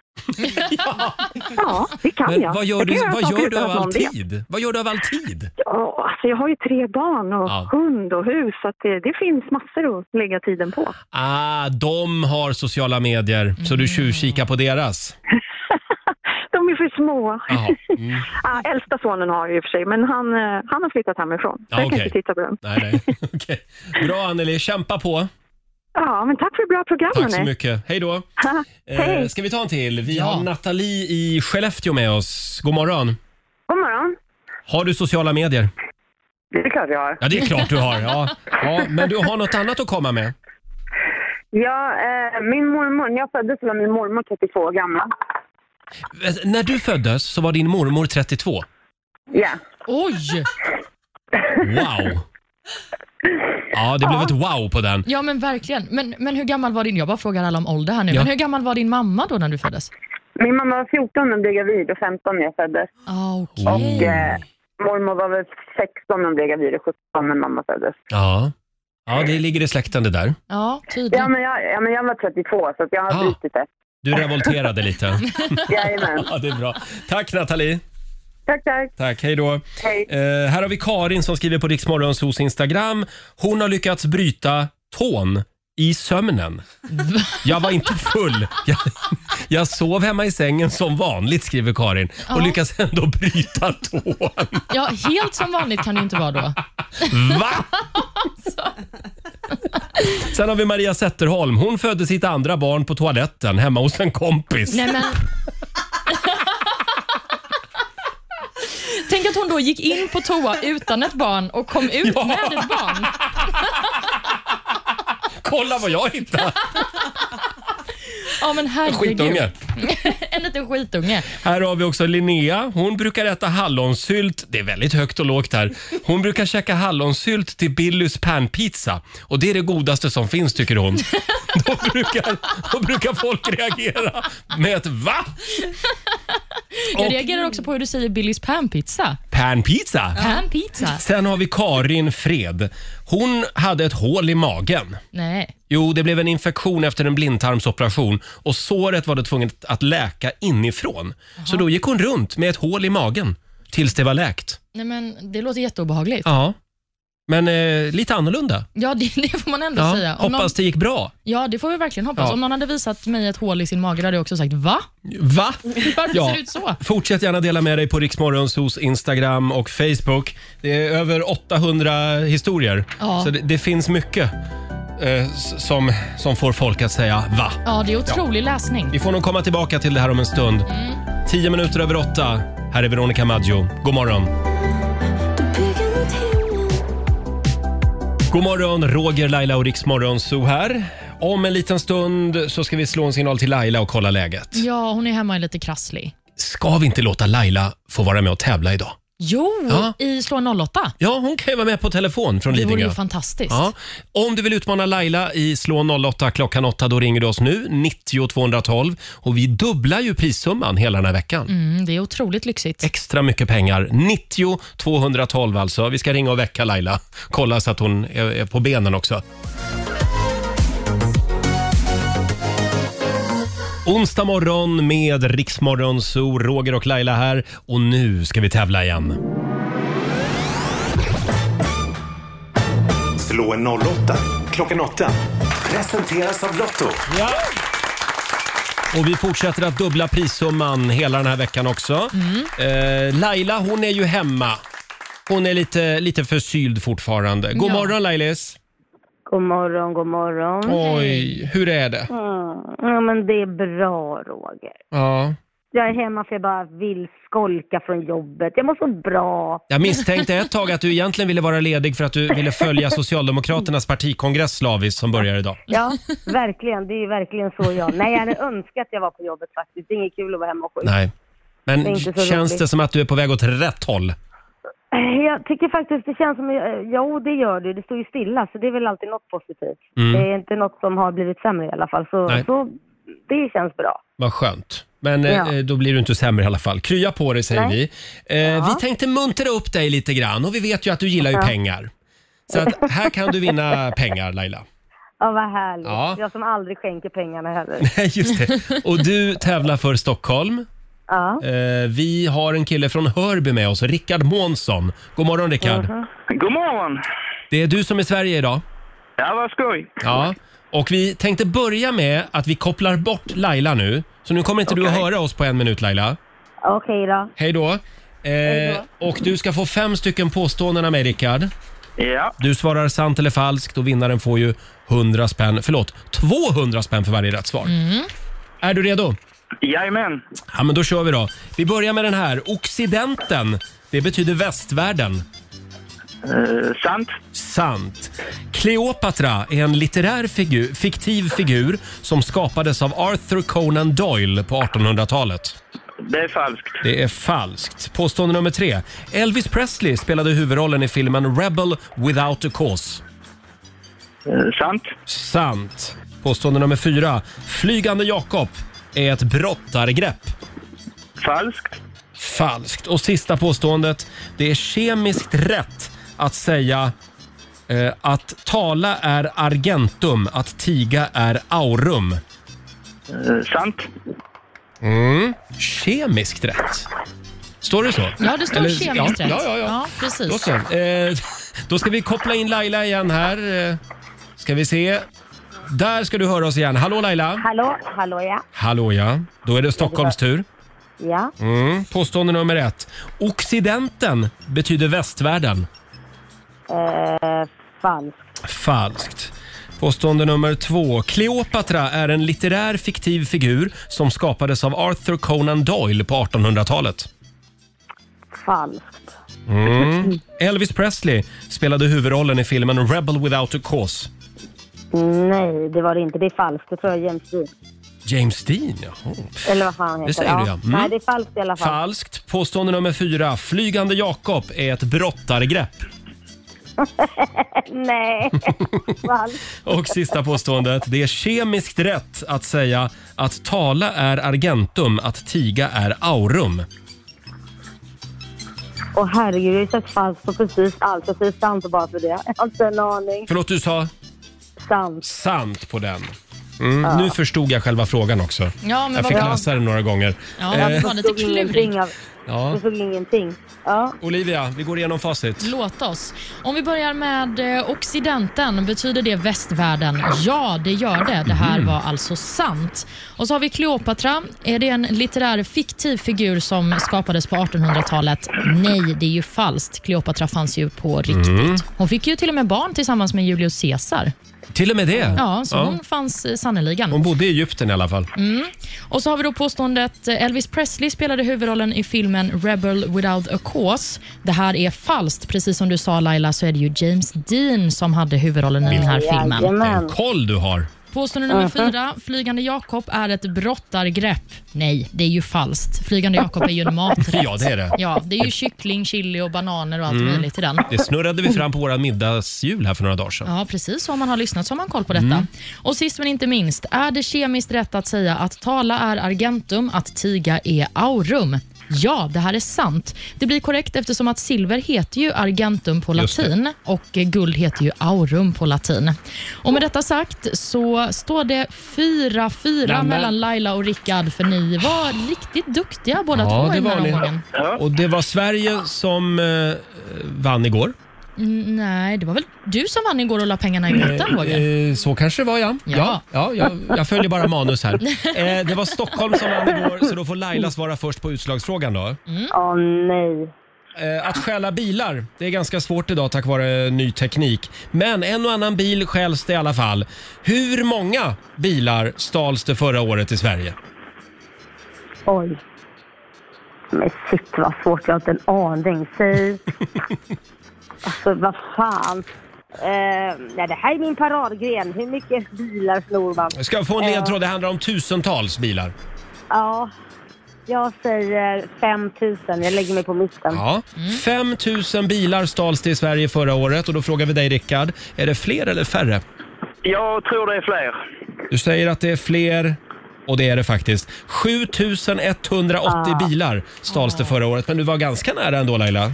Speaker 18: ja, det kan
Speaker 1: Men
Speaker 18: jag.
Speaker 1: vad gör
Speaker 18: jag
Speaker 1: du,
Speaker 18: kan göra
Speaker 1: vad
Speaker 18: saker
Speaker 1: gör du
Speaker 18: utan
Speaker 1: av
Speaker 18: att
Speaker 1: all
Speaker 18: någon vet.
Speaker 1: tid? Vad gör du av all tid?
Speaker 18: Ja, alltså jag har ju tre barn och
Speaker 1: Ja.
Speaker 18: hund och hus, så att det, det finns massor att lägga tiden på.
Speaker 1: Ah, de har sociala medier, så
Speaker 18: Mm.
Speaker 1: du tjuvkikar på deras.
Speaker 18: De är för små.
Speaker 1: Jaha.
Speaker 18: ah, äldsta sonen har jag i och för sig, men han, eh, han har flyttat hemifrån. Så
Speaker 1: Ja,
Speaker 18: jag kan
Speaker 1: okej.
Speaker 18: inte titta på den.
Speaker 1: Nej, nej. Okej. Bra Anneli, kämpa på.
Speaker 18: Ja, men tack för ett bra program
Speaker 1: Tack så
Speaker 18: hörni.
Speaker 1: mycket. Hej då.
Speaker 18: Ha,
Speaker 1: Eh,
Speaker 18: Hej,
Speaker 1: ska vi ta en till? Vi har Nathalie i Skellefteå med oss. God morgon.
Speaker 17: God morgon.
Speaker 1: Har du sociala medier?
Speaker 17: Det är klart jag har.
Speaker 1: Ja, det är klart du har. Ja. Ja, men du har något annat att komma med?
Speaker 17: Ja, eh, min mormor, när jag föddes var min mormor 32 år gammal.
Speaker 1: Eh, När du föddes så var din mormor 32.
Speaker 17: Ja.
Speaker 2: Oj!
Speaker 1: Wow! Ja, det blev ett wow på den.
Speaker 2: Ja, men verkligen. Men, men hur gammal var din... Jag bara frågar alla om ålder här nu.
Speaker 1: Ja.
Speaker 2: Men hur gammal var din mamma då när du föddes?
Speaker 17: Min mamma var 14 när hon blev gravid och 15 när jag föddes.
Speaker 2: Ah, okej.
Speaker 17: Och eh, mormor var väl 16 när hon blev gravid och 17 när mamma föddes.
Speaker 1: Ja. ja, det ligger i släkten det där.
Speaker 2: Ja, tydligt.
Speaker 17: Ja, men jag, ja, men jag var 32 så att jag har
Speaker 1: Ah.
Speaker 17: brutit det.
Speaker 1: Du revolterade lite.
Speaker 17: Jajamän.
Speaker 1: Ja, det är bra. Tack Nathalie.
Speaker 17: Tack, tack.
Speaker 1: Tack, hej då.
Speaker 17: Hej.
Speaker 1: Eh, här har vi Karin som skriver på Riksmorgonsos Instagram. Hon har lyckats bryta tån i sömnen. Jag var inte full. Jag, jag sov hemma i sängen som vanligt, skriver Karin. Och
Speaker 2: Ja.
Speaker 1: lyckas ändå bryta tån.
Speaker 2: Ja, helt som vanligt kan det ju inte vara då.
Speaker 1: Va? Sen har vi Maria Zetterholm. Hon födde sitt andra barn på toaletten hemma hos en kompis.
Speaker 2: Nej, men... Tänk att hon då gick in på toa utan ett barn och kom ut
Speaker 1: Ja.
Speaker 2: med ett barn.
Speaker 1: Kolla vad jag hittade!
Speaker 2: Ja, men herregud.
Speaker 1: Skitunge.
Speaker 2: en liten skitunge.
Speaker 1: Här har vi också Linnea. Hon brukar äta hallonsylt. Det är väldigt högt och lågt här. Hon brukar käka hallonsylt till Billys pannpizza. Och det är det godaste som finns tycker hon. Då brukar, då brukar folk reagera med ett va?
Speaker 2: Jag
Speaker 1: Och-
Speaker 2: reagerar också på hur du säger Billys panpizza.
Speaker 1: Pannpizza?
Speaker 2: Panpizza?
Speaker 1: Sen har vi Karin Fred. Hon hade ett hål i magen.
Speaker 2: Nej.
Speaker 1: Jo, det blev en infektion efter en blindtarmsoperation och såret var det tvunget att läka inifrån. Så då gick hon runt med ett hål i magen tills det var läkt.
Speaker 2: Nej, men det låter jätteobehagligt.
Speaker 1: Ja,
Speaker 2: Ja,
Speaker 1: men eh, lite annorlunda.
Speaker 2: det, det får man ändå
Speaker 1: Ja,
Speaker 2: säga.
Speaker 1: hoppas det gick bra.
Speaker 2: Ja, det får vi verkligen hoppas.
Speaker 1: Ja.
Speaker 2: Om någon hade visat mig ett hål i sin mage hade jag också sagt va?
Speaker 1: Va?
Speaker 2: Varför ser det ut så?
Speaker 1: Fortsätt gärna dela med dig på Riksmorgonsos Instagram och Facebook. Det är över 800 historier,
Speaker 2: Ja.
Speaker 1: så det, det finns mycket eh, s- som, som får folk att säga va.
Speaker 2: Ja, det är otrolig läsning.
Speaker 1: Vi får nog komma tillbaka till det här om en stund.
Speaker 2: Mm.
Speaker 1: Tio minuter över åtta. Här är Veronica Maggio. God morgon. God morgon, Roger, Laila och Riksmorgon Zoo här. Om en liten stund så ska vi slå en signal till Laila och kolla läget.
Speaker 2: Ja, hon är hemma och är lite krasslig.
Speaker 1: Ska vi inte låta Laila få vara med och tävla idag?
Speaker 2: Jo,
Speaker 1: Ja.
Speaker 2: i Slå 08.
Speaker 1: Ja, hon kan ju vara med på telefon från
Speaker 2: Det
Speaker 1: Lidingö.
Speaker 2: vore ju fantastiskt.
Speaker 1: Ja. Om du vill utmana Laila i Slå 08 klockan 8, då ringer du oss nu, 90 212. Och vi dubblar ju prissumman hela den här veckan.
Speaker 2: Mm, det är otroligt lyxigt.
Speaker 1: extra mycket pengar. 90 212 alltså. Vi ska ringa och väcka Laila. Kolla så att hon är är på benen också. Onsdag morgon med Riksmorgon Zoo, Roger och Laila här. Och nu ska vi tävla igen.
Speaker 7: Slå en 08 klockan 8. Presenteras av Lotto.
Speaker 1: Ja. Och vi fortsätter att dubbla
Speaker 19: Mm.
Speaker 1: prissumman hela den här veckan också. Eh, Laila, hon är ju hemma. Hon är lite, lite förkyld fortfarande. God
Speaker 19: Ja.
Speaker 1: morgon Lailis!
Speaker 19: God morgon, god morgon.
Speaker 1: Oj, hur är det?
Speaker 19: Mm. Ja, men det är bra, Roger.
Speaker 1: Ja.
Speaker 19: Jag är hemma för jag bara vill skolka från jobbet. Jag mår så bra.
Speaker 1: Jag misstänkte ett tag att du egentligen ville vara ledig för att du ville följa Socialdemokraternas partikongress slaviskt som börjar idag.
Speaker 19: Ja, verkligen. Det är ju verkligen så jag... Nej, jag hade önskat att jag var på jobbet faktiskt. Det är inget kul att vara hemma och skit.
Speaker 1: Nej.
Speaker 19: Det är
Speaker 1: Men
Speaker 19: inte så
Speaker 1: känns
Speaker 19: roligt.
Speaker 1: det som att du är på väg åt rätt håll?
Speaker 19: Eh, Jag tycker faktiskt det känns som... eh, Jo, det gör det. Det står ju stilla, så det är väl alltid något positivt.
Speaker 1: Mm.
Speaker 19: Det är inte något som har blivit sämre i alla fall, så,
Speaker 1: Nej.
Speaker 19: så det känns bra.
Speaker 1: Vad skönt. Men
Speaker 19: Ja.
Speaker 1: eh, då blir du inte sämre i alla fall. Krya på dig säger
Speaker 19: Nej.
Speaker 1: vi. Eh, Vi tänkte muntra upp dig lite grann och vi vet ju att du gillar ju
Speaker 19: Ja.
Speaker 1: pengar. Så att här kan du vinna pengar Laila.
Speaker 19: Ja, vad härligt.
Speaker 1: Ja.
Speaker 19: Jag som aldrig skänker pengarna heller.
Speaker 1: Nej, just det. Och du tävlar för Stockholm.
Speaker 19: Ja.
Speaker 1: Eh, vi har en kille från Hörby med oss, Rickard Månsson. God morgon Rickard.
Speaker 19: Mhm.
Speaker 20: God morgon!
Speaker 1: Det är du som är Sverige idag.
Speaker 20: Ja, vad skoj.
Speaker 1: Ja. Och vi tänkte börja med att vi kopplar bort Laila nu. Så nu kommer inte du att höra oss på en minut Laila.
Speaker 19: Okej då.
Speaker 1: Hej då. Eh, och du ska få fem stycken påståenden av mig, Rickard.
Speaker 20: Ja.
Speaker 1: Du svarar sant eller falskt och vinnaren får ju 100 spänn, förlåt, 200 spänn för varje rätt svar. Är du redo?
Speaker 20: Jajamän.
Speaker 1: Ja, men då kör vi då. Vi börjar med den här. Occidenten, det betyder västvärlden.
Speaker 20: Eh, sant.
Speaker 1: Sant. Kleopatra är en litterär figur, fiktiv figur som skapades av Arthur Conan Doyle på 1800-talet.
Speaker 20: Det är falskt.
Speaker 1: Det är falskt. Påstående nummer tre. Elvis Presley spelade huvudrollen i filmen Rebel without a cause.
Speaker 20: Eh, sant.
Speaker 1: Sant. Påstående nummer fyra. Flygande Jakob är ett brottargrepp.
Speaker 20: Falskt.
Speaker 1: Falskt. Och sista påståendet. Det är kemiskt rätt att säga eh, att tala är argentum, att tiga är aurum.
Speaker 20: Eh, sant.
Speaker 1: Mm. Kemiskt rätt. Står det så?
Speaker 2: Ja, det står
Speaker 1: Eller-
Speaker 2: kemiskt
Speaker 1: ja,
Speaker 2: rätt.
Speaker 1: Ja, ja, ja.
Speaker 2: precis.
Speaker 1: Då, så. Eh, då ska vi koppla in Laila igen här. Eh, Ska vi se. Där ska du höra oss igen. Hallå Laila!
Speaker 19: Hallå, hallå ja.
Speaker 1: Hallå ja. Då är det Stockholms tur.
Speaker 19: Ja,
Speaker 1: Mm. Påstående nummer ett. Occidenten betyder västvärlden.
Speaker 19: eh, falskt.
Speaker 1: Falskt. Påstående nummer två. Kleopatra är en litterär fiktiv figur som skapades av Arthur Conan Doyle på 1800-talet.
Speaker 19: Falskt.
Speaker 1: Mm. Elvis Presley spelade huvudrollen i filmen Rebel without a cause.
Speaker 19: Nej, det var det inte. Det är falskt. Det tror jag är James Dean.
Speaker 1: James Dean, jaha.
Speaker 19: Eller vad fan heter
Speaker 1: Det säger du, ja. Mm.
Speaker 19: Nej, det är falskt i alla fall.
Speaker 1: Falskt. Påstående nummer fyra. Flygande Jakob är ett brottargrepp.
Speaker 19: Nej, falskt.
Speaker 1: Och sista påståendet. Det är kemiskt rätt att säga att tala är argentum, att tiga är aurum.
Speaker 19: Åh herregud, jag har ju sett falskt på precis allt. Jag säger sant bara för det. Jag har inte en aning.
Speaker 1: Förlåt, du sa
Speaker 19: Sant.
Speaker 1: sant på den. Mm,
Speaker 19: Ja.
Speaker 1: Nu förstod jag själva frågan också.
Speaker 19: Ja, men
Speaker 1: jag
Speaker 19: vad
Speaker 1: fick
Speaker 19: bra.
Speaker 1: läsa den några gånger. Eh,
Speaker 19: Jag förstod ingenting av...
Speaker 1: ja.
Speaker 19: Jag såg ingenting. Ja.
Speaker 1: Olivia, vi går igenom facit.
Speaker 2: Låt oss. Om vi börjar med eh, Occidenten, betyder det västvärlden? Ja, det gör det. Det här var alltså sant. Och så har vi Kleopatra. Är det en litterär fiktiv figur som skapades på 1800-talet? Nej, det är ju falskt. Kleopatra fanns ju på riktigt.
Speaker 1: Mm.
Speaker 2: Hon fick ju till och med barn tillsammans med Julius Caesar.
Speaker 1: Till och med det?
Speaker 2: Ja, så hon fanns eh, sannerligen.
Speaker 1: Hon bodde i Egypten i alla fall.
Speaker 2: Mm. Och så har vi då påståendet eh, Elvis Presley spelade huvudrollen i filmen Rebel without a cause. Det här är falskt. Precis som du sa Laila så är det ju James Dean som hade huvudrollen i den här
Speaker 1: Vilken
Speaker 2: filmen.
Speaker 1: koll du har!
Speaker 2: Påstående nummer
Speaker 1: Mhm.
Speaker 2: fyra. Flygande Jakob är ett brottargrepp. Nej, det är ju falskt. Flygande Jakob är ju en maträtt.
Speaker 1: Ja, det är det.
Speaker 2: Ja, det är ju kyckling, chili och bananer och allt
Speaker 1: Mm.
Speaker 2: möjligt i den.
Speaker 1: Det snurrade vi fram på våra middagshjul här för några dagar sedan.
Speaker 2: Ja, precis. Så Om man har lyssnat så har man koll på detta.
Speaker 1: Mm.
Speaker 2: Och Sist men inte minst, är det kemiskt rätt att säga att tala är argentum, att tiga är aurum? Ja, det här är sant. Det blir korrekt eftersom att silver heter ju argentum på
Speaker 21: Just det.
Speaker 2: latin och eh, guld heter ju aurum på latin. Och Med detta sagt så står det 4-4
Speaker 1: Nämen.
Speaker 2: mellan Laila och Rickard för ni var riktigt duktiga båda två i den här omgången.
Speaker 1: Och det var Sverige som eh, vann igår.
Speaker 2: Mm, Nej, det var väl du som vann igår och la pengarna i botten, Roger?
Speaker 1: Eh, Så kanske det var, ja.
Speaker 2: Ja.
Speaker 1: Ja, ja jag, jag följer bara manus här. Eh, det var Stockholm som vann igår, så då får Laila svara först på utslagsfrågan då.
Speaker 19: Åh nej.
Speaker 1: Eh, Att stjäla bilar, det är ganska svårt idag tack vare ny teknik. Men en och annan bil stjäls det i alla fall. Hur många bilar stals det förra året i Sverige?
Speaker 19: Oj. Men shit vad svårt, jag har inte en aning. Säg... alltså vad fan. Eh, nej, det här är min paradgren. Hur mycket bilar snor man? Eh.
Speaker 1: Jag ska få en ledtråd, det handlar om tusentals bilar.
Speaker 19: Ja, jag säger 5 000. Jag lägger mig på mitten.
Speaker 1: Ja.
Speaker 19: Mm.
Speaker 1: 5 000 bilar stals det i Sverige förra året och då frågar vi dig Rickard, är det fler eller färre?
Speaker 20: Jag tror det är fler.
Speaker 1: Du säger att det är fler och det är det faktiskt. 7180
Speaker 19: Ah.
Speaker 1: bilar stals det förra året, men du var ganska nära ändå Laila.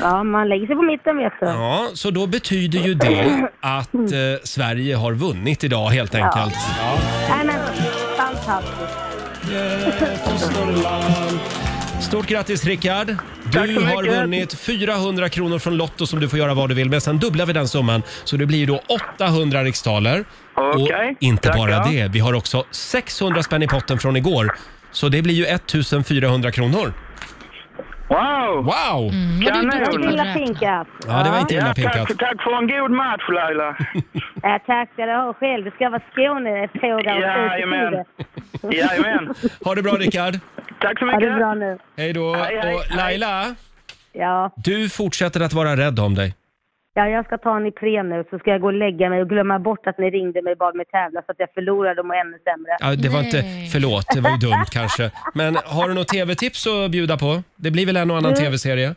Speaker 19: Ja, man lägger sig på mitten vet du.
Speaker 1: Ja, så då betyder ju det att eh, Sverige har vunnit idag helt
Speaker 19: Ja.
Speaker 1: enkelt. Ja.
Speaker 19: Nej, men fantastiskt.
Speaker 1: Stort grattis Rickard! Du
Speaker 19: Tack så
Speaker 1: har
Speaker 19: mycket.
Speaker 1: vunnit 400 kronor från Lotto som du får göra vad du vill med. Sen dubblar vi den summan så det blir ju då 800 riksdaler.
Speaker 20: Okej,
Speaker 1: Och inte
Speaker 20: tackar.
Speaker 1: bara det, vi har också 600 spänn i potten från igår. Så det blir ju 1400 kronor. Mm,
Speaker 20: Wow!
Speaker 1: Wow!
Speaker 19: Mm. Det var illa
Speaker 20: Kanon!
Speaker 19: pinkat.
Speaker 1: Ja, det var inte illa pinkat.
Speaker 20: tack, tack för en god match Laila.
Speaker 19: Ja, tack ska du ha själv. Det ska vara Skåne på dig.
Speaker 20: Jajamän. Jajamän.
Speaker 1: Ha det bra Rickard!
Speaker 20: Tack så
Speaker 19: Ha
Speaker 20: mycket.
Speaker 19: det bra nu.
Speaker 1: Hej då! Och Laila,
Speaker 19: Ja.
Speaker 1: du fortsätter att vara rädd om dig.
Speaker 19: ja, jag ska ta en Ipren nu så ska jag gå och lägga mig och glömma bort att ni ringde mig och bad mig tävla så att jag förlorade och mår ännu sämre.
Speaker 1: Ja, det var inte, förlåt, det var ju dumt kanske. Men har du något tv-tips att bjuda på? Det blir väl en och annan
Speaker 19: Du-
Speaker 1: tv-serie?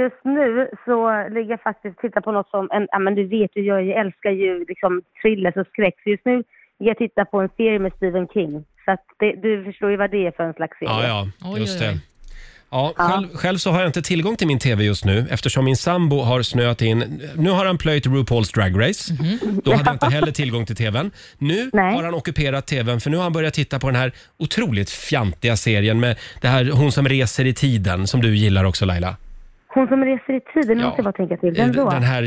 Speaker 19: Just nu så ligger jag faktiskt och tittar på något som, en, ja, men du vet ju, jag älskar ju liksom thrillers och skräck. Så just nu ligger jag och tittar på en serie med Stephen King. Så att det, du förstår ju vad det är för en slags serie.
Speaker 1: Ja, ja, just det. Ja,
Speaker 19: Ja.
Speaker 1: själv, själv så har jag inte tillgång till min tv just nu eftersom min sambo har snöat in. Nu har han plöjt RuPaul's Drag Race. Då hade jag inte heller tillgång till tvn. Nu har han ockuperat tvn för nu har han börjat titta på den här otroligt fjantiga serien med det här Hon som reser i tiden som du gillar också Laila.
Speaker 19: Hon som reser i tiden, nu måste jag bara tänka till. Den då?
Speaker 1: Den här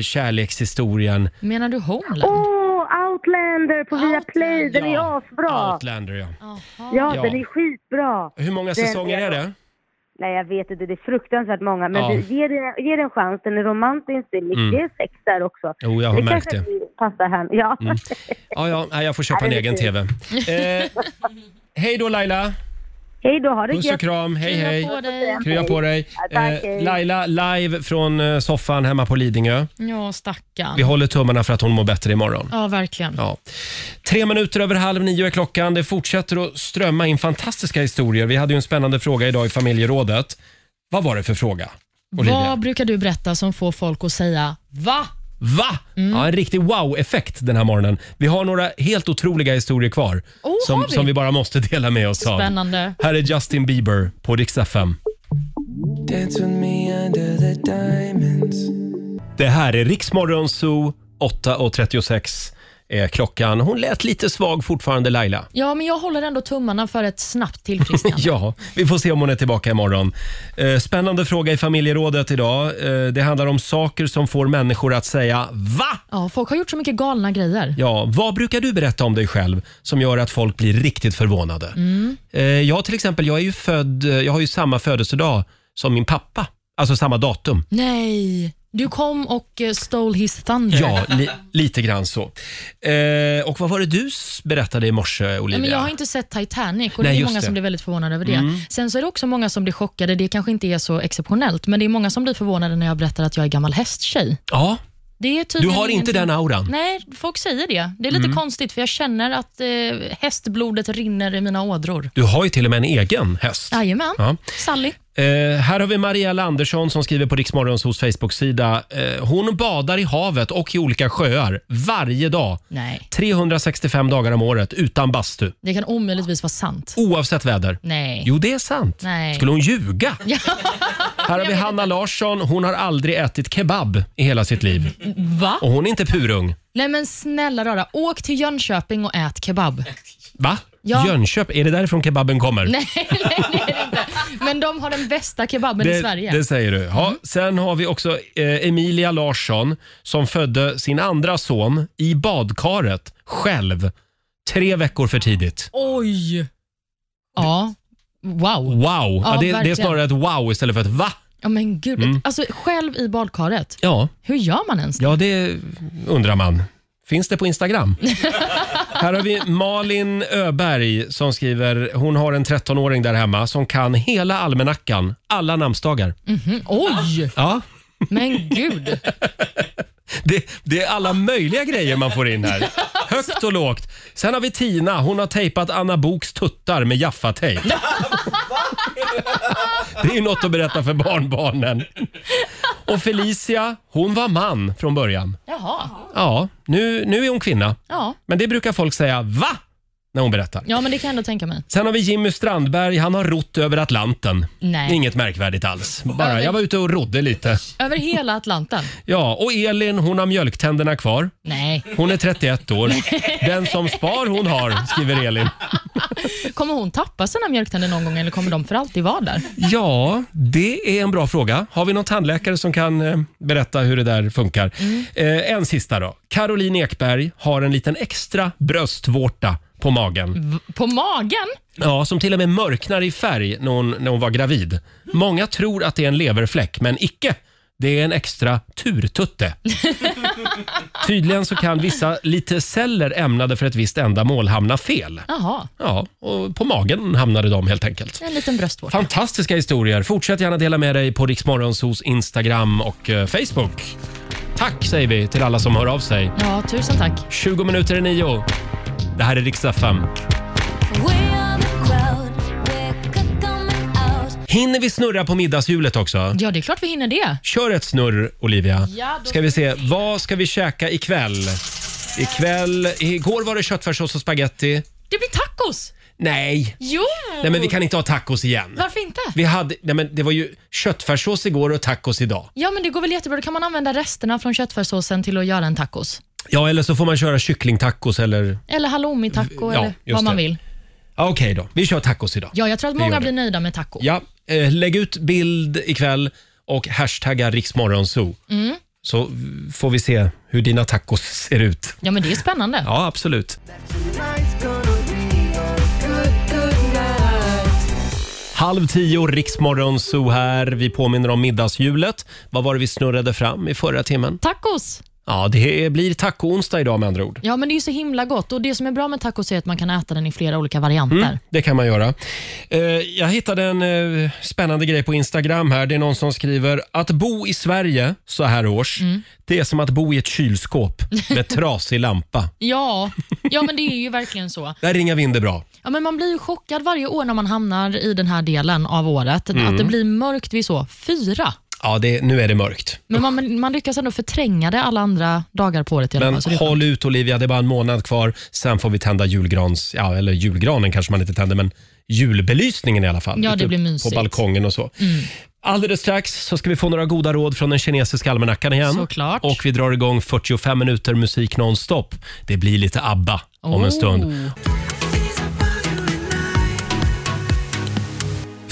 Speaker 1: kärlekshistorien.
Speaker 2: Menar du Homeland?
Speaker 19: Åh, Outlander på Viaplay! Den är asbra!
Speaker 1: Outlander ja.
Speaker 19: Ja,
Speaker 1: Ja.
Speaker 19: den är skitbra!
Speaker 1: Hur många
Speaker 19: Den
Speaker 1: säsonger är det?
Speaker 19: Nej, jag vet inte. Det är fruktansvärt många. Men
Speaker 1: Ja.
Speaker 19: du, ge, den, ge den en chans. Den är romantisk. Det är mycket
Speaker 1: Mm.
Speaker 19: sex där också.
Speaker 1: Jo, jag har märkt
Speaker 19: kanske
Speaker 1: det.
Speaker 19: inte Passar här. Ja.
Speaker 1: Mm. Ja, ja, nej, jag får köpa
Speaker 19: Ja,
Speaker 1: en
Speaker 19: det är
Speaker 1: egen
Speaker 19: fint.
Speaker 1: tv. Eh, hej då Laila!
Speaker 19: Hej då, ha det
Speaker 1: Puss och kram, hej
Speaker 19: Krya
Speaker 1: hej.
Speaker 19: på dig.
Speaker 1: Krya på dig.
Speaker 2: Ja, tack,
Speaker 1: Eh,
Speaker 2: hej.
Speaker 1: Laila live från eh, soffan hemma på Lidingö.
Speaker 2: Ja, stackarn.
Speaker 1: Vi håller tummarna för att hon mår bättre imorgon.
Speaker 2: Ja, verkligen.
Speaker 1: Ja. Tre minuter över halv nio är klockan. Det fortsätter att strömma in fantastiska historier. Vi hade ju en spännande fråga idag i familjerådet. Vad var det för fråga? Olivia?
Speaker 2: Vad brukar du berätta som får folk att säga va?
Speaker 1: Va?
Speaker 2: Mm.
Speaker 1: Ja, en riktig wow-effekt den här morgonen. Vi har några helt otroliga historier kvar
Speaker 2: Oh,
Speaker 1: som,
Speaker 2: har vi?
Speaker 1: som vi bara måste dela med oss av.
Speaker 2: Spännande.
Speaker 1: Här är Justin Bieber på Rix FM.
Speaker 15: Dance with me under the diamonds.
Speaker 1: Det här är Riksmorgon Zoo, 8.36 är klockan. Hon lät lite svag fortfarande, Laila.
Speaker 2: Ja, men jag håller ändå tummarna för ett snabbt tillfrisknande.
Speaker 1: Ja, vi får se om hon är tillbaka imorgon. Eh, Spännande fråga i familjerådet idag. Eh, Det handlar om saker som får människor att säga VA?
Speaker 2: Ja, folk har gjort så mycket galna grejer.
Speaker 1: Ja, vad brukar du berätta om dig själv som gör att folk blir riktigt förvånade?
Speaker 2: Mm.
Speaker 1: Eh, Jag till exempel, jag är ju född, eh, jag har ju samma födelsedag som min pappa. Alltså samma datum.
Speaker 2: Nej, du kom och eh, stole his thunder.
Speaker 1: Ja, li, lite grann så. Eh, och vad var det du s- berättade i morse,
Speaker 2: Nej,
Speaker 1: Olivia?
Speaker 2: men jag har inte sett Titanic och
Speaker 1: Nej,
Speaker 2: det är
Speaker 1: just
Speaker 2: många
Speaker 1: det.
Speaker 2: som blir väldigt förvånade över det.
Speaker 1: Mm.
Speaker 2: Sen så är det också många som blir chockade. Det kanske inte är så exceptionellt, men det är många som blir förvånade när jag berättar att jag är gammal hästtjej.
Speaker 1: Ja,
Speaker 2: Det är tydligen
Speaker 1: Du har inte
Speaker 2: ingenting-
Speaker 1: den auran?
Speaker 2: Nej, folk säger det. Det är lite
Speaker 1: Mm.
Speaker 2: konstigt, för jag känner att eh, hästblodet rinner i mina ådror.
Speaker 1: du har ju till och med en egen häst.
Speaker 2: Jajamän.
Speaker 1: Ja.
Speaker 2: Sally.
Speaker 1: Eh, här har vi Mariella Andersson som skriver på Riksmorgons hos Facebook-sida. Eh, hon badar i havet och i olika sjöar varje dag.
Speaker 2: Nej.
Speaker 1: 365 dagar om året utan bastu.
Speaker 2: Det kan omöjligtvis vara sant.
Speaker 1: Oavsett väder.
Speaker 2: Nej.
Speaker 1: Jo, det är sant.
Speaker 2: Nej.
Speaker 1: Skulle hon ljuga? Här har vi Hanna Larsson. Hon har aldrig ätit kebab i hela sitt liv.
Speaker 2: Mm, Va?
Speaker 1: Och hon är inte purung.
Speaker 2: Nej men snälla rara, åk till Jönköping och ät kebab.
Speaker 1: Va?
Speaker 2: Ja.
Speaker 1: Jönköp, är det därifrån kebaben kommer?
Speaker 2: Nej, nej, det är det inte. Men de har den bästa kebaben
Speaker 1: det,
Speaker 2: i Sverige. Mm.
Speaker 1: det säger du. Ja, Sen har vi också eh, Emilia Larsson som födde sin andra son i badkaret själv. Tre veckor för tidigt.
Speaker 2: Oj! Ja, wow.
Speaker 1: Wow! Ja,
Speaker 2: Ja,
Speaker 1: det, det är
Speaker 2: verkligen.
Speaker 1: snarare ett wow istället för ett va.
Speaker 2: Ja, men gud.
Speaker 1: Mm.
Speaker 2: Alltså, själv i badkaret.
Speaker 1: Ja.
Speaker 2: Hur gör man ens det?
Speaker 1: Ja, det undrar man. Finns det på Instagram? Här har vi Malin Öberg som skriver, hon har en 13-åring där hemma som kan hela almanackan, alla namnsdagar.
Speaker 2: Mhm. Oj!
Speaker 1: Ja,
Speaker 2: Men gud.
Speaker 1: det, det är alla möjliga grejer man får in här. Högt och lågt. Sen har vi Tina, hon har tejpat Anna Boks tuttar med Jaffa-tejp. Det är ju något att berätta för barnbarnen. Och Felicia, hon var man från början.
Speaker 2: Jaha.
Speaker 1: Ja, nu, nu är hon kvinna.
Speaker 2: Ja.
Speaker 1: Men det brukar folk säga VA? när hon berättar.
Speaker 2: ja, men det kan jag ändå tänka mig.
Speaker 1: Sen har vi Jimmy Strandberg. Han har rott över Atlanten.
Speaker 2: Nej.
Speaker 1: Inget märkvärdigt alls. Bara, jag var ute och rodde lite.
Speaker 2: Över hela Atlanten?
Speaker 1: Ja, och Elin hon har mjölktänderna kvar.
Speaker 2: Nej.
Speaker 1: Hon är 31 år. Den som spar hon har, skriver Elin.
Speaker 2: Kommer hon tappa sina mjölktänder någon gång eller kommer de för alltid vara där?
Speaker 1: Ja, det är en bra fråga. Har vi någon tandläkare som kan eh, berätta hur det där funkar? Eh, en sista då. Caroline Ekberg har en liten extra bröstvårta på magen.
Speaker 2: V- På magen?
Speaker 1: Ja, som till och med mörknar i färg när hon, när hon var gravid. Många tror att det är en leverfläck, men icke. Det är en extra turtutte. Tydligen så kan vissa lite celler ämnade för ett visst ändamål hamna fel.
Speaker 2: Jaha,
Speaker 1: Ja, och på magen hamnade de helt enkelt.
Speaker 2: en liten bröstvårta.
Speaker 1: Fantastiska historier. Fortsätt gärna dela med dig på Riksmorgonsos Instagram och eh, Facebook. Tack säger vi till alla som hör av sig.
Speaker 2: Ja, tusen tack.
Speaker 1: 20 minuter i nio. Det här är riksdag 5. Hinner vi snurra på middagshjulet också?
Speaker 2: Ja, det är klart vi hinner det.
Speaker 1: Kör ett snurr, Olivia.
Speaker 2: Ja, då-
Speaker 1: Ska vi se, vad ska vi käka ikväll? Ikväll, igår var det köttfärssås och spaghetti.
Speaker 2: Det blir tacos!
Speaker 1: Nej.
Speaker 2: Jo!
Speaker 1: Nej, men vi kan inte ha tacos igen.
Speaker 2: Varför inte?
Speaker 1: Vi hade, nej men det var ju köttfärssås igår och tacos idag.
Speaker 2: Ja, men det går väl jättebra. Då kan man använda resterna från köttfärssåsen till att göra en tacos.
Speaker 1: Ja, eller så får man köra kycklingtacos eller...
Speaker 2: Eller halloumi-taco
Speaker 1: Mm, Ja,
Speaker 2: eller
Speaker 1: just
Speaker 2: vad man
Speaker 1: det.
Speaker 2: vill.
Speaker 1: Ja, Okej då, vi kör tacos idag.
Speaker 2: Ja, jag tror att
Speaker 1: Vi gör
Speaker 2: många
Speaker 1: det.
Speaker 2: blir nöjda med taco.
Speaker 1: Ja, eh, lägg ut bild ikväll och hashtagga riksmorgonzoo.
Speaker 2: Mm.
Speaker 1: Så v- får vi se hur dina tacos ser ut.
Speaker 2: Ja, men det är spännande.
Speaker 1: Ja, absolut. Halv tio, Riksmorgonzoo här. Vi påminner om middagshjulet. Vad var det vi snurrade fram i förra timmen?
Speaker 2: Tacos!
Speaker 1: Ja, det blir taco-onsdag idag med andra ord.
Speaker 2: Ja, men det är ju så himla gott. Och Det som är bra med tacos är att man kan äta den i flera olika varianter.
Speaker 1: Mm, det kan man göra. Eh, jag hittade en eh, spännande grej på Instagram här. Det är någon som skriver att bo i Sverige så här års, det är som att bo i ett kylskåp med trasig lampa.
Speaker 2: Ja, ja, men det är ju verkligen så.
Speaker 1: Där ringar vinden bra.
Speaker 2: Ja, men man blir ju chockad varje år när man hamnar i den här delen av året.
Speaker 1: Mm.
Speaker 2: Att det blir mörkt vid så fyra.
Speaker 1: Ja, det, nu är det mörkt.
Speaker 2: Men man, man lyckas ändå förtränga det alla andra dagar på året. i alla
Speaker 1: Men
Speaker 2: fall, så Alltså, det är
Speaker 1: håll ut Olivia, det är bara en månad kvar. Sen får vi tända julgrans, ja eller julgranen kanske man inte tänder, men julbelysningen i alla fall.
Speaker 2: Ja, det
Speaker 1: Ute
Speaker 2: blir mysigt. Mm.
Speaker 1: På balkongen och så. Alldeles strax så ska vi få några goda råd från den kinesiska almanackan igen.
Speaker 2: Såklart.
Speaker 1: Och vi drar igång 45 minuter musik nonstop. Det blir lite ABBA om en
Speaker 2: Oh.
Speaker 1: stund.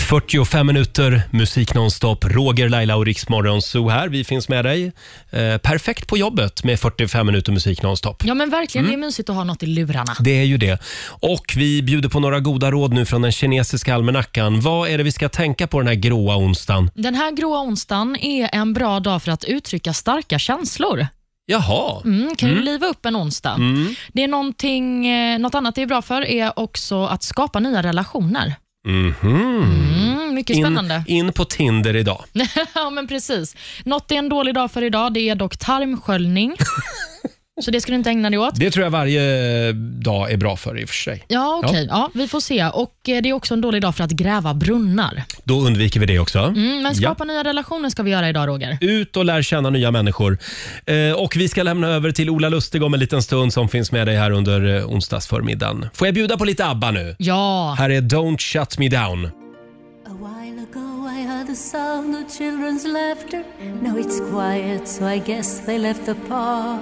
Speaker 1: 45 minuter musik nonstop. Roger, Laila och Riksmorgon Zoo här. Vi finns med dig. Eh, perfekt på jobbet med 45 minuter musik nonstop.
Speaker 2: Ja, men verkligen.
Speaker 1: Mm.
Speaker 2: Det är mysigt att ha något i lurarna.
Speaker 1: Det är ju det. Och vi bjuder på några goda råd nu från den kinesiska almanackan. Vad är det vi ska tänka på den här gråa onsdagen?
Speaker 2: Den här gråa onsdagen är en bra dag för att uttrycka starka känslor.
Speaker 1: Jaha.
Speaker 2: Mm, kan ju
Speaker 1: Mm.
Speaker 2: liva upp en onsdag.
Speaker 1: Mm.
Speaker 2: Det är någonting, eh, något annat det är bra för är också att skapa nya relationer.
Speaker 1: Mhm.
Speaker 2: Mm, mycket spännande. Mm.
Speaker 1: In, in på Tinder idag.
Speaker 2: ja, men precis. Något det är en dålig dag för idag det är dock tarmsköljning. Så det ska du inte ägna dig åt.
Speaker 1: Det tror jag varje dag är bra för i och för sig.
Speaker 2: Ja, okej. Ja. vi får se. Och eh, Det är också en dålig dag för att gräva brunnar.
Speaker 1: Då undviker vi det också.
Speaker 2: Mm, men
Speaker 1: Ja.
Speaker 2: skapa nya relationer ska vi göra idag, Roger.
Speaker 1: Ut och lär känna nya människor. Eh, och Vi ska lämna över till Ola Lustig om en liten stund som finns med dig här under eh, onsdagsförmiddagen. Får jag bjuda på lite ABBA nu?
Speaker 2: Ja.
Speaker 1: Här är Don't shut me down.
Speaker 21: ago I heard the sound of children's laughter. Now it's quiet, so I guess they left the park.